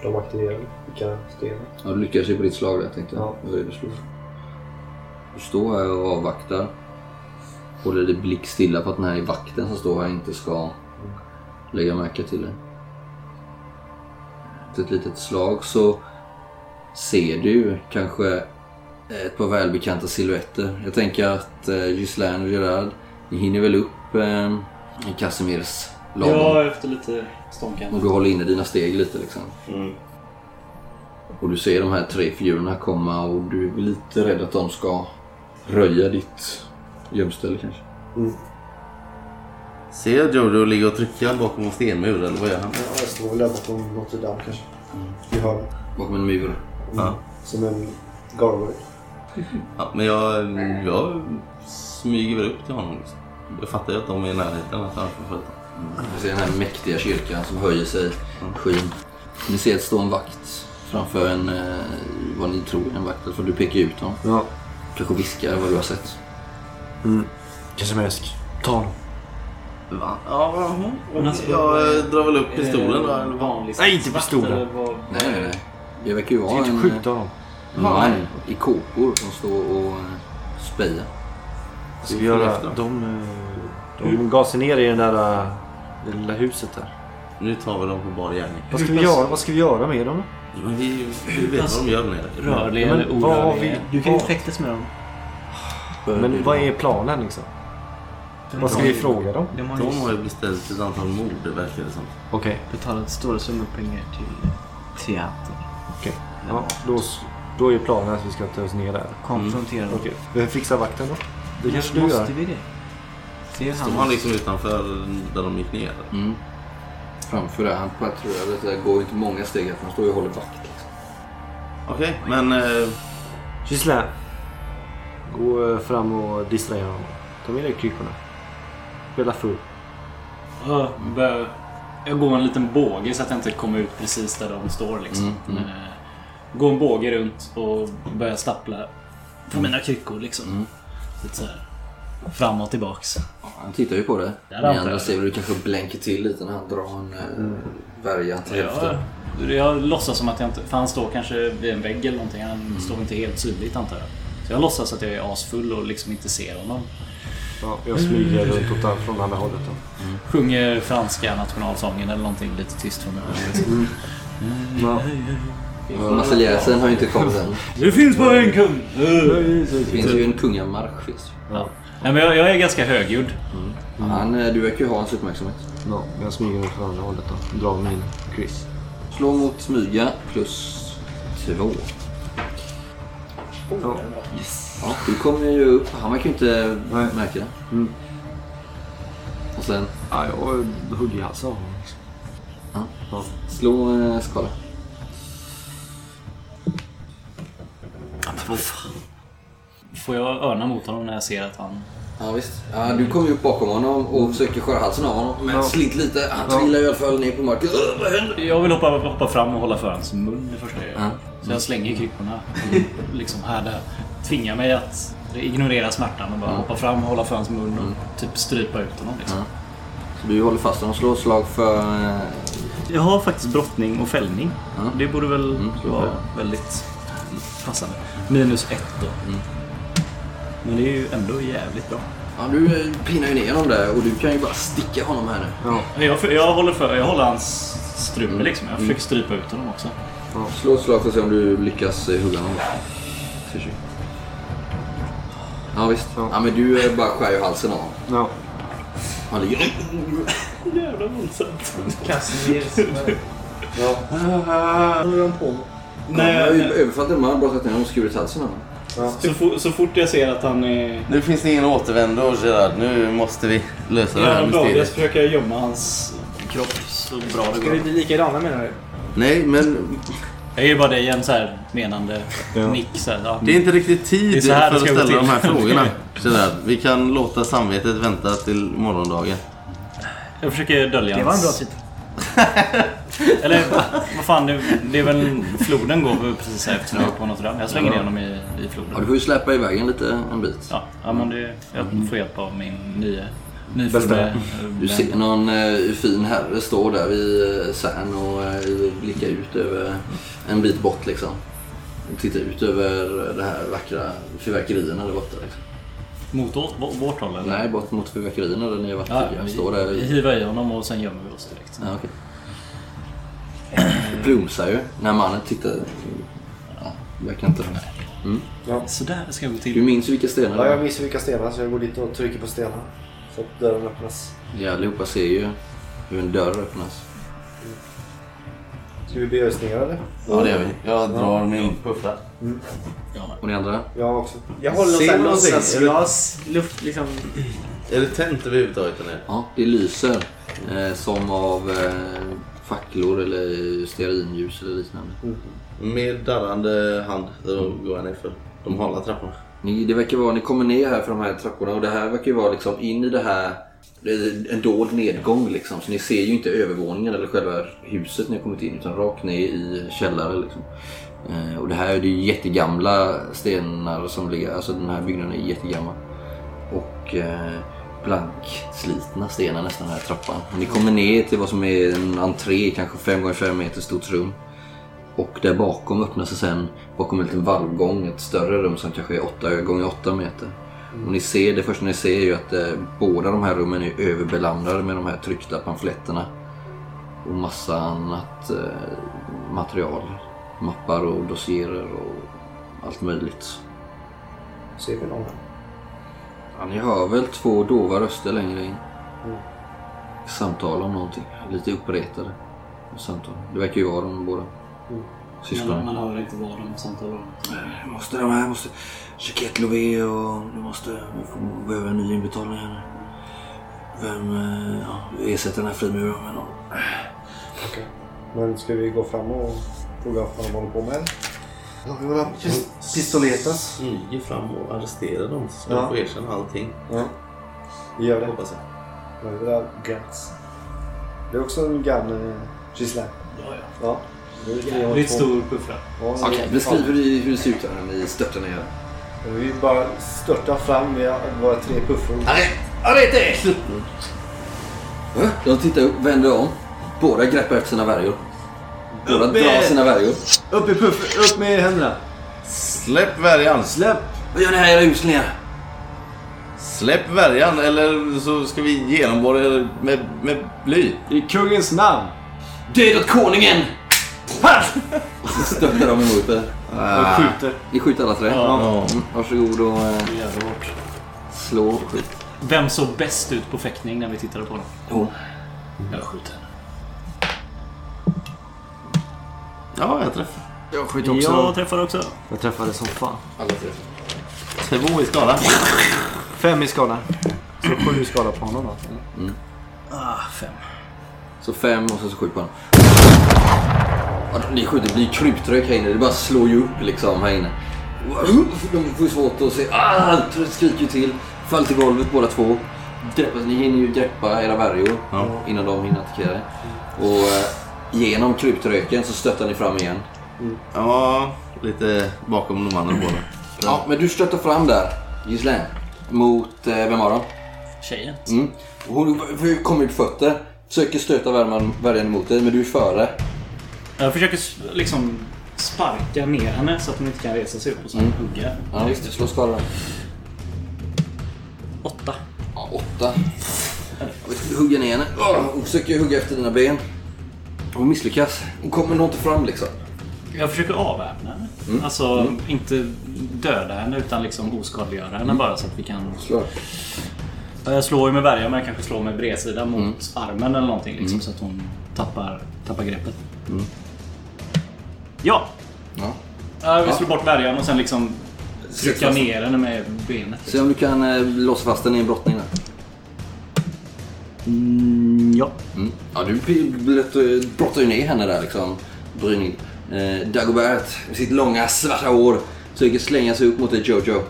H: de aktiverade. Vilka stenar.
E: Ja, du lyckades ju på ditt slag där tänkte jag. Det var det du slog. Du står här och avvaktar. Håller dig blick stilla på att den här vakten som står här inte ska lägga märke till dig. Efter ett litet slag så ser du kanske ett par välbekanta silhuetter. Jag tänker att eh, Ghislaine och Gerard, ni hinner väl upp eh, i Casimirs lagom.
M: Ja, efter lite stånkande.
E: Och du håller inne dina steg lite liksom. Och du ser de här tre figurerna komma och du är lite rädd att de ska röja ditt gömställe kanske.
C: Ser jag Jojo ligga och trycka bakom en stenmur eller vad gör han?
H: Ja, jag står väl där bakom Notre Dame kanske. Vi har det.
E: Bakom en mur.
C: Ja.
H: Som en gargoyle.
C: Ja, men jag, jag smyger väl upp till honom. Liksom. Jag fattar ju att de är i närheten. Att han får sköta.
E: Du ser den här mäktiga kyrkan som höjer sig i skyn. Ni ser att det står en vakt framför en, eh, vad ni tror är en vakt. För du pekar ut honom.
K: Ja.
E: Kanske viskar vad du har sett.
K: Mm. Kasimisk, ta honom.
C: Va? Ja, Men alltså, jag eh, drar väl upp pistolen då. En vanlig
K: Nej, inte pistolen. typ
E: Nej, nej, nej. Det verkar ju vara
K: Tänkte
E: en,
K: skjuta
E: eh,
K: honom.
E: en man i kåpor som står och eh, spejar.
K: Ska vi göra... De, eh, de gav sig ner i den där, eh, det lilla huset där.
C: Nu tar vi dem på bar gärning.
K: Vad ska, vi göra, vad ska vi göra med dem?
C: Men vi, vi vet vad de gör där nere.
K: Ja, men vad har vi-
J: Du kan ju
K: vad-
J: fäktas med dem.
K: Men vad är planen liksom? Vad ska vi fråga dem?
C: De har ju, beställt ett antal mord, det verkar det som.
K: Okej.
D: Betalat stora summor pengar till teater.
K: Okej. Ja, då, s- då är planen att vi ska ta oss ner där.
D: Konfrontera dem.
K: Okej. Vem fixar vakten då? Det
D: Men
K: kanske du
D: måste
K: gör?
D: vi det? Det är
C: Stod
D: han.
C: han liksom utanför där de gick ner?
E: Mm. Framför det, han patrullerar lite. Det går inte många steg för han står ju och håller vakt. Liksom.
C: Okej, men... Eh,
K: Gisla. Gå eh, fram och distrahera honom. Ta med dig kryckorna. Spela full.
F: Ja, bör- Jag går en liten båge så att jag inte kommer ut precis där de står. Liksom.
E: Mm, mm.
F: Eh, Går en båge runt och börjar stappla på mina kryckor. Liksom. Lite så här. Fram och tillbaks.
E: Han tittar ju på det.
F: Där
E: Ni
F: antar
E: andra
F: jag.
E: ser väl du kanske blänker till lite när han drar en mm. värja till
F: Jag,
E: hälften.
F: jag låtsas som att jag inte... För han står kanske vid en vägg eller någonting. Han står inte helt synligt antar jag. Så jag låtsas att jag är asfull och liksom inte ser honom.
K: Ja, jag smyger runt åt an- från andra hållet då.
F: Sjunger franska nationalsången eller någonting lite tyst för mig.
K: Mm. Ja.
E: Ja, Marseljäsen har ju inte kommit än.
F: Det finns bara en kung!
E: Det finns ju en kungamarsch. Finns. ju.
K: Ja.
F: Nej, men jag, jag är ganska högljudd.
K: Mm.
E: Han, eh, du verkar ju ha hans uppmärksamhet.
K: Ja, jag smyger runt från andra hållet då. Drar min Chris.
E: Slå mot smyga plus två.
K: Ja.
E: Ja, du kommer ju upp. Han verkar ju inte märka det.
K: Mm.
E: Och sen?
K: Ja, jag hugger i halsen av honom. liksom.
E: Ja. Slå eh, skala.
F: Får jag örna mot honom när jag ser att han...
E: Ja, visst. Ja, du kommer ju upp bakom honom och försöker skära halsen av honom. Men
F: Ja.
E: slint lite. Han
F: Ja.
E: trillar i alla fall ner på marken. Öh, vad händer?
F: Jag vill hoppa, hoppa fram och hålla för hans mun det första jag gör.
E: Ja.
F: Så jag slänger kryckorna liksom här där. Tvingar mig att ignorera smärtan och bara hoppa fram och hålla för hans mun och typ strypa ut honom. Liksom.
E: Så du håller fast honom. Slå slag för... eh,
I: Jag har faktiskt brottning och fällning. Det borde väl
C: Mm,
E: så
I: vara
E: får jag.
I: väldigt passande. Minus ett då.
C: Mm.
I: Men det är ju ändå jävligt bra.
E: Ja, du eh, pinnar ju ner honom där och du kan ju bara sticka honom här nu.
F: Jag, jag, håller för, jag håller hans strupe
C: Mm.
F: liksom. Jag försöker strypa ut honom också.
E: Slå ett slag för att se om du lyckas eh, hugga honom. Ska vi se. Ja visst. Ja. men du eh, bara skär ju halsen av honom.
K: Ja.
E: Han ligger nu.
F: Jävla våldsamt.
L: Kassimir.
E: Ja.
L: Vad håller de på med?
E: Nej,
F: Nej,
E: jag har ju
F: nej.
E: överfallit en man, brottat ner honom och skurit halsen av honom.
F: Så,
C: Mm.
F: fo- så fort jag ser att han är...
C: nu finns det ingen återvändo, Gerard. Nu måste vi lösa det här
F: Göran Dahlgren så
C: mysteriet.
F: försöker jag gömma hans kropp så bra det
L: Ska vi bli likadana menar du?
C: Nej, men...
F: Jag ger bara dig en så här menande
C: Ja.
F: nick. Så här, ja.
C: Det är inte riktigt
F: Det är
C: tid
F: så
C: för
F: här
C: att
F: det ska gå
C: ställa
F: till.
C: de här frågorna. Gerard. Vi kan låta samvetet vänta till morgondagen.
F: Jag försöker dölja
C: Det var en bra
F: hans- Eller vad fan, det, det är väl... Floden går väl precis här efter på Notre Dame. Jag slänger ner honom i, i floden.
E: Ja, du får ju släpa iväg en lite en bit.
F: Ja, ja men det, jag får hjälp av min nya
E: Ni
J: får
E: Bestäm.
J: det.
E: Du ser någon eh, fin herre stå där vid eh, Särn och eh, blicka ut över en bit bort liksom. Titta ut över det här vackra fyrverkerierna där borta. Liksom.
J: Mot åt, vå- vårt håll eller?
E: Nej, bort mot fyrverkerierna där ni har varit
J: Ja,
E: tidigare.
J: vi
E: Står där
J: vi
E: vid-
J: hivar i honom och sen gömmer vi oss direkt.
E: Ja, okej. Det plumsar ju när mannen tittar. Ja, verkar inte... Mm.
H: Ja.
J: Så där ska jag gå till.
E: Du minns vilka stenar
H: Ja,
E: det
H: jag
E: var?
H: minns vilka stenar så jag går dit och trycker på stenar. Så att dörren öppnas.
E: Ni allihopa ser ju hur en dörr öppnas.
H: Ska vi be ösningar eller?
E: Ja, det gör vi. Jag drar
C: min puffra.
H: Mm.
E: Och ni andra?
H: Jag också.
D: Jag håller någon
C: Ser
D: sån här
C: du någonting?
D: låtsasglas, luft liksom.
C: Är det tänt överhuvudtaget? Eller?
E: Ja, det lyser eh, som av eh, facklor eller stearinljus eller liknande.
C: Med darrande hand så går jag nerför de hala trapporna.
E: Ni, det verkar vara, ni kommer ner här för de här trapporna och det här verkar ju vara liksom in i det här, det är en dold nedgång liksom. Så ni ser ju inte övervåningen eller själva huset ni har kommit in utan rakt ner i källaren liksom. Eh, och det här det är ju jättegamla stenar som ligger, alltså den här byggnaden är jättegammal. Och eh, blankslitna stenar nästan den här trappan. Och ni kommer ner till vad som är en entré, kanske 5x5 meter stort rum. Och där bakom öppnar sig sen, bakom en liten valvgång, ett större rum som kanske är 8 gånger 8 meter.
H: Mm.
E: Och ni ser, det första ni ser är ju att eh, båda de här rummen är överbelamrade med de här tryckta pamfletterna. Och massa annat eh, material. Mappar och dossierer och allt möjligt.
H: Ser vi någon här?
E: Ja, ni hör väl två dova röster längre in.
H: Mm.
E: Samtal om någonting. Lite uppretade. Samtal. Det verkar ju vara de båda.
H: Mm.
E: Syskonen.
F: Man hör inte vad de samtalar om.
E: Jag måste de här, måste... Chiquette Lové och du måste... Vi får- behöver en ny inbetalning här nu. Vem eh, ja, ersätter den här frimuren med någon?
H: Okej. Men ska vi gå fram och fråga vad de håller på med? eller? Ja, vi har pistoletas.
C: Smyger fram och arresterar dem så ska
H: Ja.
C: de få erkänna allting.
H: Ja. Vi gör det.
C: Hoppas jag.
H: Ja, det där Guts. Det är också en gammal gisslan.
F: Ja, ja.
H: ja. Det är- vi har
F: Jävligt
H: två-
F: stor puffra.
H: Ja,
E: Okej,
H: det är-
E: beskriv hur det- hur det ser ut här när ni störtar ner.
H: Vi bara störtar fram med våra tre puffor.
E: Arrete! De tittar upp, vänder om. Båda greppar efter sina värjor. Båda
H: Uppe!
E: drar sina värjor.
H: Upp i puff, upp med händerna.
C: Släpp värjan!
H: Släpp!
E: Vad gör ni här era uslingar?
C: Släpp värjan eller så ska vi genomborra er med, med bly.
K: I kungens namn!
E: Död åt konungen! Så stöttar de emot er.
C: Och
K: Ah.
C: skjuter.
E: Ni skjuter alla tre?
J: Ja.
E: Mm, varsågod och... eh, Slå och skjut.
J: Vem såg bäst ut på fäktning när vi tittade på dem?
E: Hon.
J: Jag skjuter.
C: Ja, jag träffar.
K: Jag
J: skjuter också. Jag träffar också.
K: Jag träffade som fan.
E: Alla tre.
C: Två i skada.
K: Fem i skada. Så sju i skada på honom då. eller?
E: Mm.
J: Ah, fem.
E: Så fem och sen så skjut på honom. Ja, Ni skjuter, det blir kryptrök här inne. Det bara slår ju upp liksom här inne. De får ju svårt att se. Ah, skriker ju till. Faller till golvet båda två. Greppas, ni hinner ju greppa era värjor
C: Ja.
E: innan de hinner attackera er. Och eh, genom kryptröken så stöttar ni fram igen.
C: Ja, lite bakom de andra båda.
E: Ja, men du stöter fram där, Gislaine. Mot, eh, vem var de?
J: Tjejen.
E: Mm. Hon f- kommer ut fötter, försöker stöta värman- värjan emot dig, men du är före.
I: Jag försöker s- liksom sparka ner henne så att hon inte kan resa sig upp och så
E: Mm.
I: hugga.
E: Ja, visst. Slå skada då.
I: Åtta.
E: Ja, åtta. Jag hugger ner henne. Åh, Hon försöker hugga efter dina ben. Hon misslyckas. Hon kommer nog inte fram liksom.
J: Jag försöker avväpna henne.
E: Mm.
J: Alltså, inte döda henne utan liksom oskadliggöra henne
E: Mm.
J: bara så att vi kan...
E: Slå.
J: Ja, Jag slår ju med värja men jag kanske slår med bredsida mot armen eller någonting liksom, så att hon tappar, tappar greppet.
E: Mm.
J: Ja!
E: Ja.
J: Ja, vi
E: Ja.
J: slår bort värjan och sen liksom
E: Sätt
J: trycka
E: fast.
J: ner henne med benet.
E: Se om du kan eh, låsa fast den i en brottning där.
J: ja.
E: Mm. Ja, du p- blöt- brottar ju ner henne där liksom. Brynhild. Eh, Dagobert med sitt långa svarta hår försöker slänga sig upp mot dig Jojo.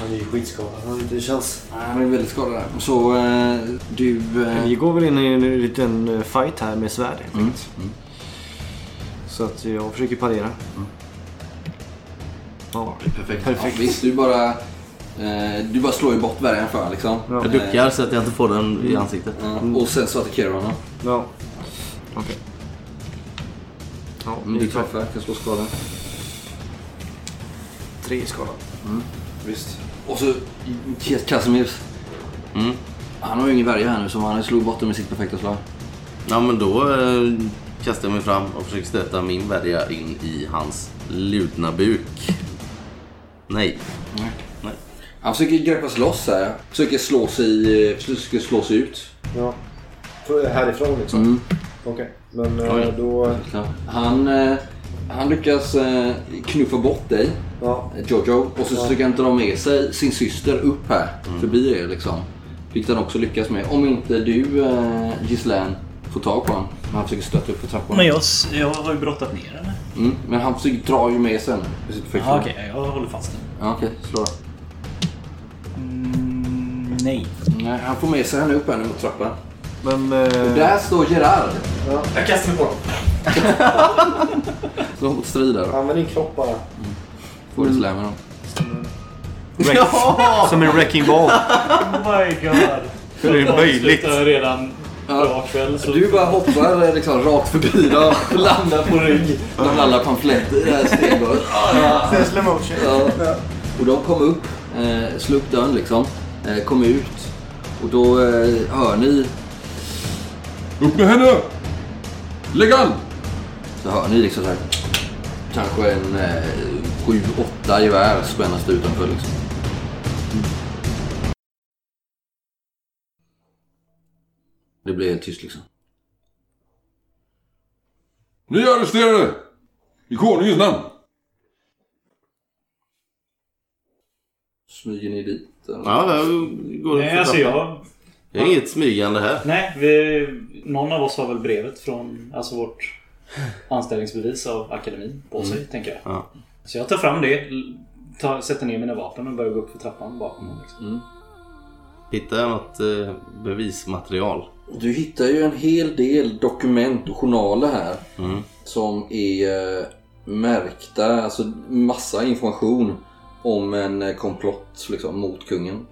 H: Han är ju skitskadad. Han har inte en chans.
E: Han är väldigt skadad där. Så eh, du... eh,
K: Vi går väl in i en liten eh, fight här med svärd helt
E: Mm. Mm.
K: enkelt. Så att jag försöker parera. Ja,
E: Perfekt.
K: perfekt.
E: Ja, visst, du bara Eh, Du bara slår ju bort värjan för liksom.
C: Ja. Jag duckar så att jag inte får den i
E: Mm.
C: ansiktet.
E: Ja, Och sen så attackerar du honom.
N: Ja. Okej. Ja,
E: Mm, du träffar, jag slår skada.
N: Tre i skala.
E: Mm, visst. Och så K- Casimirs. Mm. Han har ju ingen värja här nu som han slog bort den med sitt perfekta slag.
C: Ja, men då eh, kastar jag mig fram och försöker stöta min värja in i hans ludna buk. Nej.
E: Nej. Han försöker greppas loss här. Försöker slå sig, eh, försöker slå sig ut.
H: Ja. För- Härifrån liksom?
E: Mm.
H: Okej. Men eh,
E: Ja, ja.
H: då...
E: Han, eh, han lyckas eh, knuffa bort dig, eh, Jojo, och så
H: Ja.
E: försöker han dra med sig sin syster upp här,
O: Mm.
E: förbi er liksom. Vilket han också lyckas med, om inte du eh, Gislaine får tag på honom. Men han försöker stötta upp för trappan.
O: Men jag, jag har ju brottat ner henne.
E: Mm, men han försöker dra ju med sig henne. med sitt perfekta.
O: Ja, Ah, Okej, jag håller fast den.
E: Ja, okej, slå då.
O: nej.
E: Nej, han får med sig henne upp här nu mot trappan.
N: Men...
E: Och där står Gerard.
H: Jag kastar mig på honom.
E: Slå mot strid där då.
H: Använd din kropp bara.
E: Får du slamma honom.
N: Som en wrecking ball.
F: Oh my god.
N: Hur är det möjligt?
F: Avslutar redan bra kväll. Så...
E: Du bara hoppar eh, liksom rakt förbi dem och landar på rygg. De alla pamfletter i det här stengolvet. Ah.
P: Sen slow motion.
E: Ja. Och de kom upp, eh, slog upp dörren liksom, eh, kom ut och då eh, hör ni... Upp med henne! Lägg an! Så hör ni liksom så här, kanske en eh, sju, åtta gevär spännas utanför liksom. Det blir helt tyst liksom.
Q: Ni är arresterade! I konungens namn!
E: Smyger ni dit? eller?
C: Ja, jag går upp
F: Nej,
J: Eh,
C: för
F: alltså
C: trappan.
F: jag-
C: Det är inget smygande här.
F: Nej, vi... någon av oss har väl brevet från alltså vårt anställningsbevis av akademin på sig,
C: Mm.
F: tänker jag.
C: Ja.
F: Så jag tar fram det, l- tar, sätter ner mina vapen och börjar gå upp för trappan bakom honom. Liksom.
C: Hittar jag något eh, bevismaterial?
E: Du hittar ju en hel del dokument och journaler här
C: Mm.
E: som är eh, märkta, alltså massa information om en eh, komplott liksom, mot kungen.
C: Mm.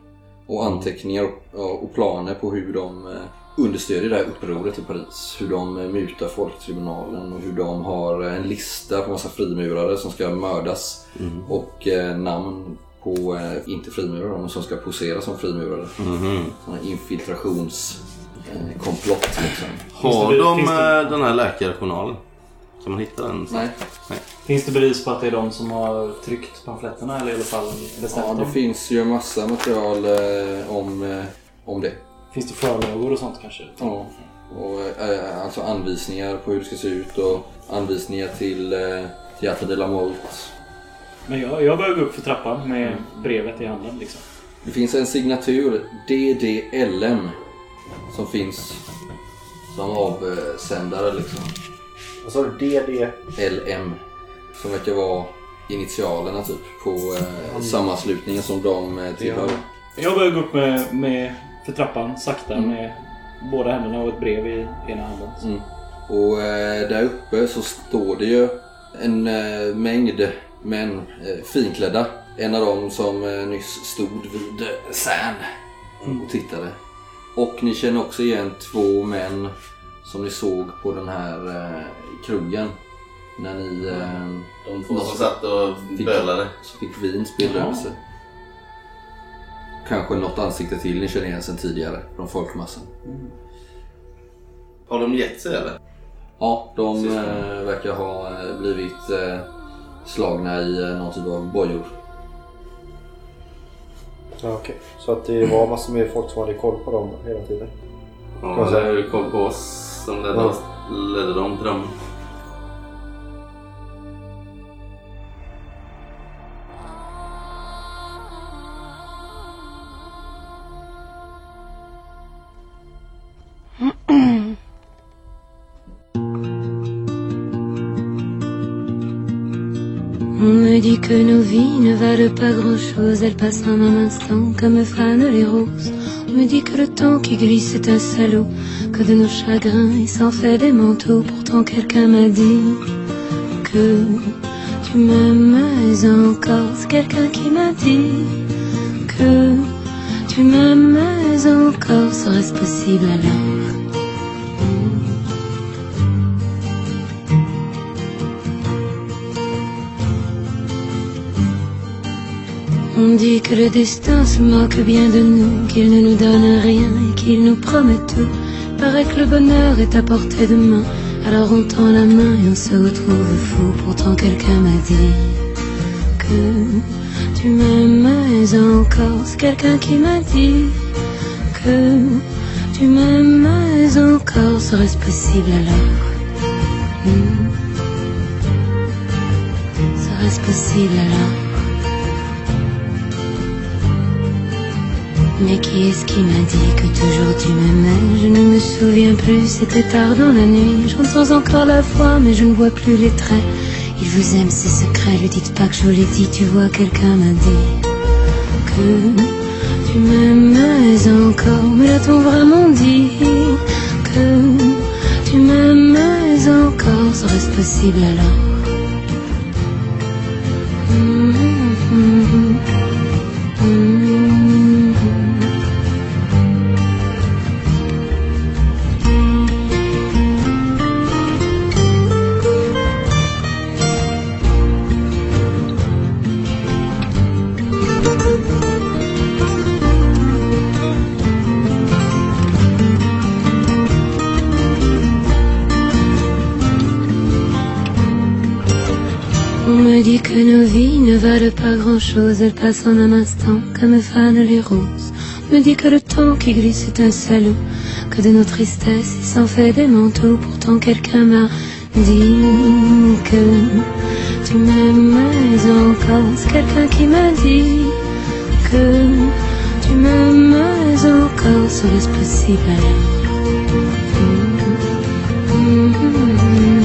E: Och anteckningar och, och planer på hur de eh, understödjer det här upproret i Paris. Hur de eh, mutar folktribunalen och hur de har eh, en lista på massa frimurare som ska mördas.
C: Mm.
E: Och eh, namn på, eh, inte frimurare, men som ska posera som frimurare.
C: Mhm.
E: Sådana infiltrationskomplott liksom.
C: Har de
F: finns
C: eh, den här läkarjournalen? Kan man hitta den?
E: Nej.
F: Finns det bevis på att det är de som har tryckt pamfletterna eller i alla fall bestämt
E: Ja, det
F: dem?
E: finns ju massa material eh, om, eh, om det.
F: Finns det förlagor och sånt kanske?
E: Ja. Och, eh, alltså anvisningar på hur det ska se ut och anvisningar till eh, Teatro de la Molt.
F: Men jag, jag börjar gå upp för trappan med brevet i handen liksom.
E: Det finns en signatur, DDLM, som finns som avsändare liksom.
H: Vad sa du? DD?
E: LM, som verkar vara initialerna typ på eh, sammanslutningen som de eh, tillhör.
F: Jag börjar gå upp med, med, för trappan sakta med båda händerna och ett brev i ena handen.
E: Mm. Och eh, där uppe så står det ju en eh, mängd män eh, finklädda. En av dem som eh, nyss stod vid eh, Särn
C: Mm.
E: och tittade. Och ni känner också igen två män som ni såg på den här eh, krogen. När ni... Eh,
C: De två som satt och
E: fick-
C: bölade.
E: Så fick vin spilla över
C: Ja.
E: sig. Kanske något ansikte till ni känner igen sen tidigare från folkmassan.
C: Har de gett sig eller?
E: Ja, de eh, verkar ha eh, blivit eh, slagna i eh, någon typ av bojor.
H: Ja, okej. Så att det
E: Mm.
H: var massor med folk som hade koll på dem hela tiden? Kan man
C: Ja, det
H: säga.
C: är ju koll på oss som ledde,
H: Ja.
C: oss, ledde dem till dem.
K: On me dit que nos vies ne valent pas grand-chose, elles passent en un instant comme fanent les roses. On me dit que le temps qui glisse est un salaud, que de nos chagrins il s'en fait des manteaux. Pourtant quelqu'un m'a dit que tu m'aimes encore. C'est quelqu'un qui m'a dit que que tu m'aimes encore, serait-ce possible alors On dit que le destin se moque bien de nous, qu'il ne nous donne rien et qu'il nous promet tout. Paraît que le bonheur est à portée de main, alors on tend la main et on se retrouve fou. Pourtant quelqu'un m'a dit que tu m'aimes encore. C'est quelqu'un qui m'a dit que tu m'aimes encore. Serait-ce possible alors Hmm. Serait-ce possible alors Mais qui est-ce qui m'a dit que toujours tu m'aimais Je ne me souviens plus, c'était tard dans la nuit. J'entends encore la voix, mais je ne vois plus les traits. Il vous aime, c'est secret, lui dites pas que je vous l'ai dit. Tu vois, quelqu'un m'a dit que tu m'aimais encore. Mais l'a-t-on vraiment dit que tu m'aimais encore Serait-ce possible alors Mhm, mhm, mhm. On me dit que nos vies ne valent pas grand-chose, elles passent en un instant comme fanent les roses. On me dit que le temps qui glisse est un salaud, que de nos tristesses il s'en fait des manteaux. Pourtant quelqu'un m'a dit que tu m'aimes encore. C'est quelqu'un qui m'a dit que tu m'aimes encore. Serait-ce possible alors Mm, mm, mm, mm.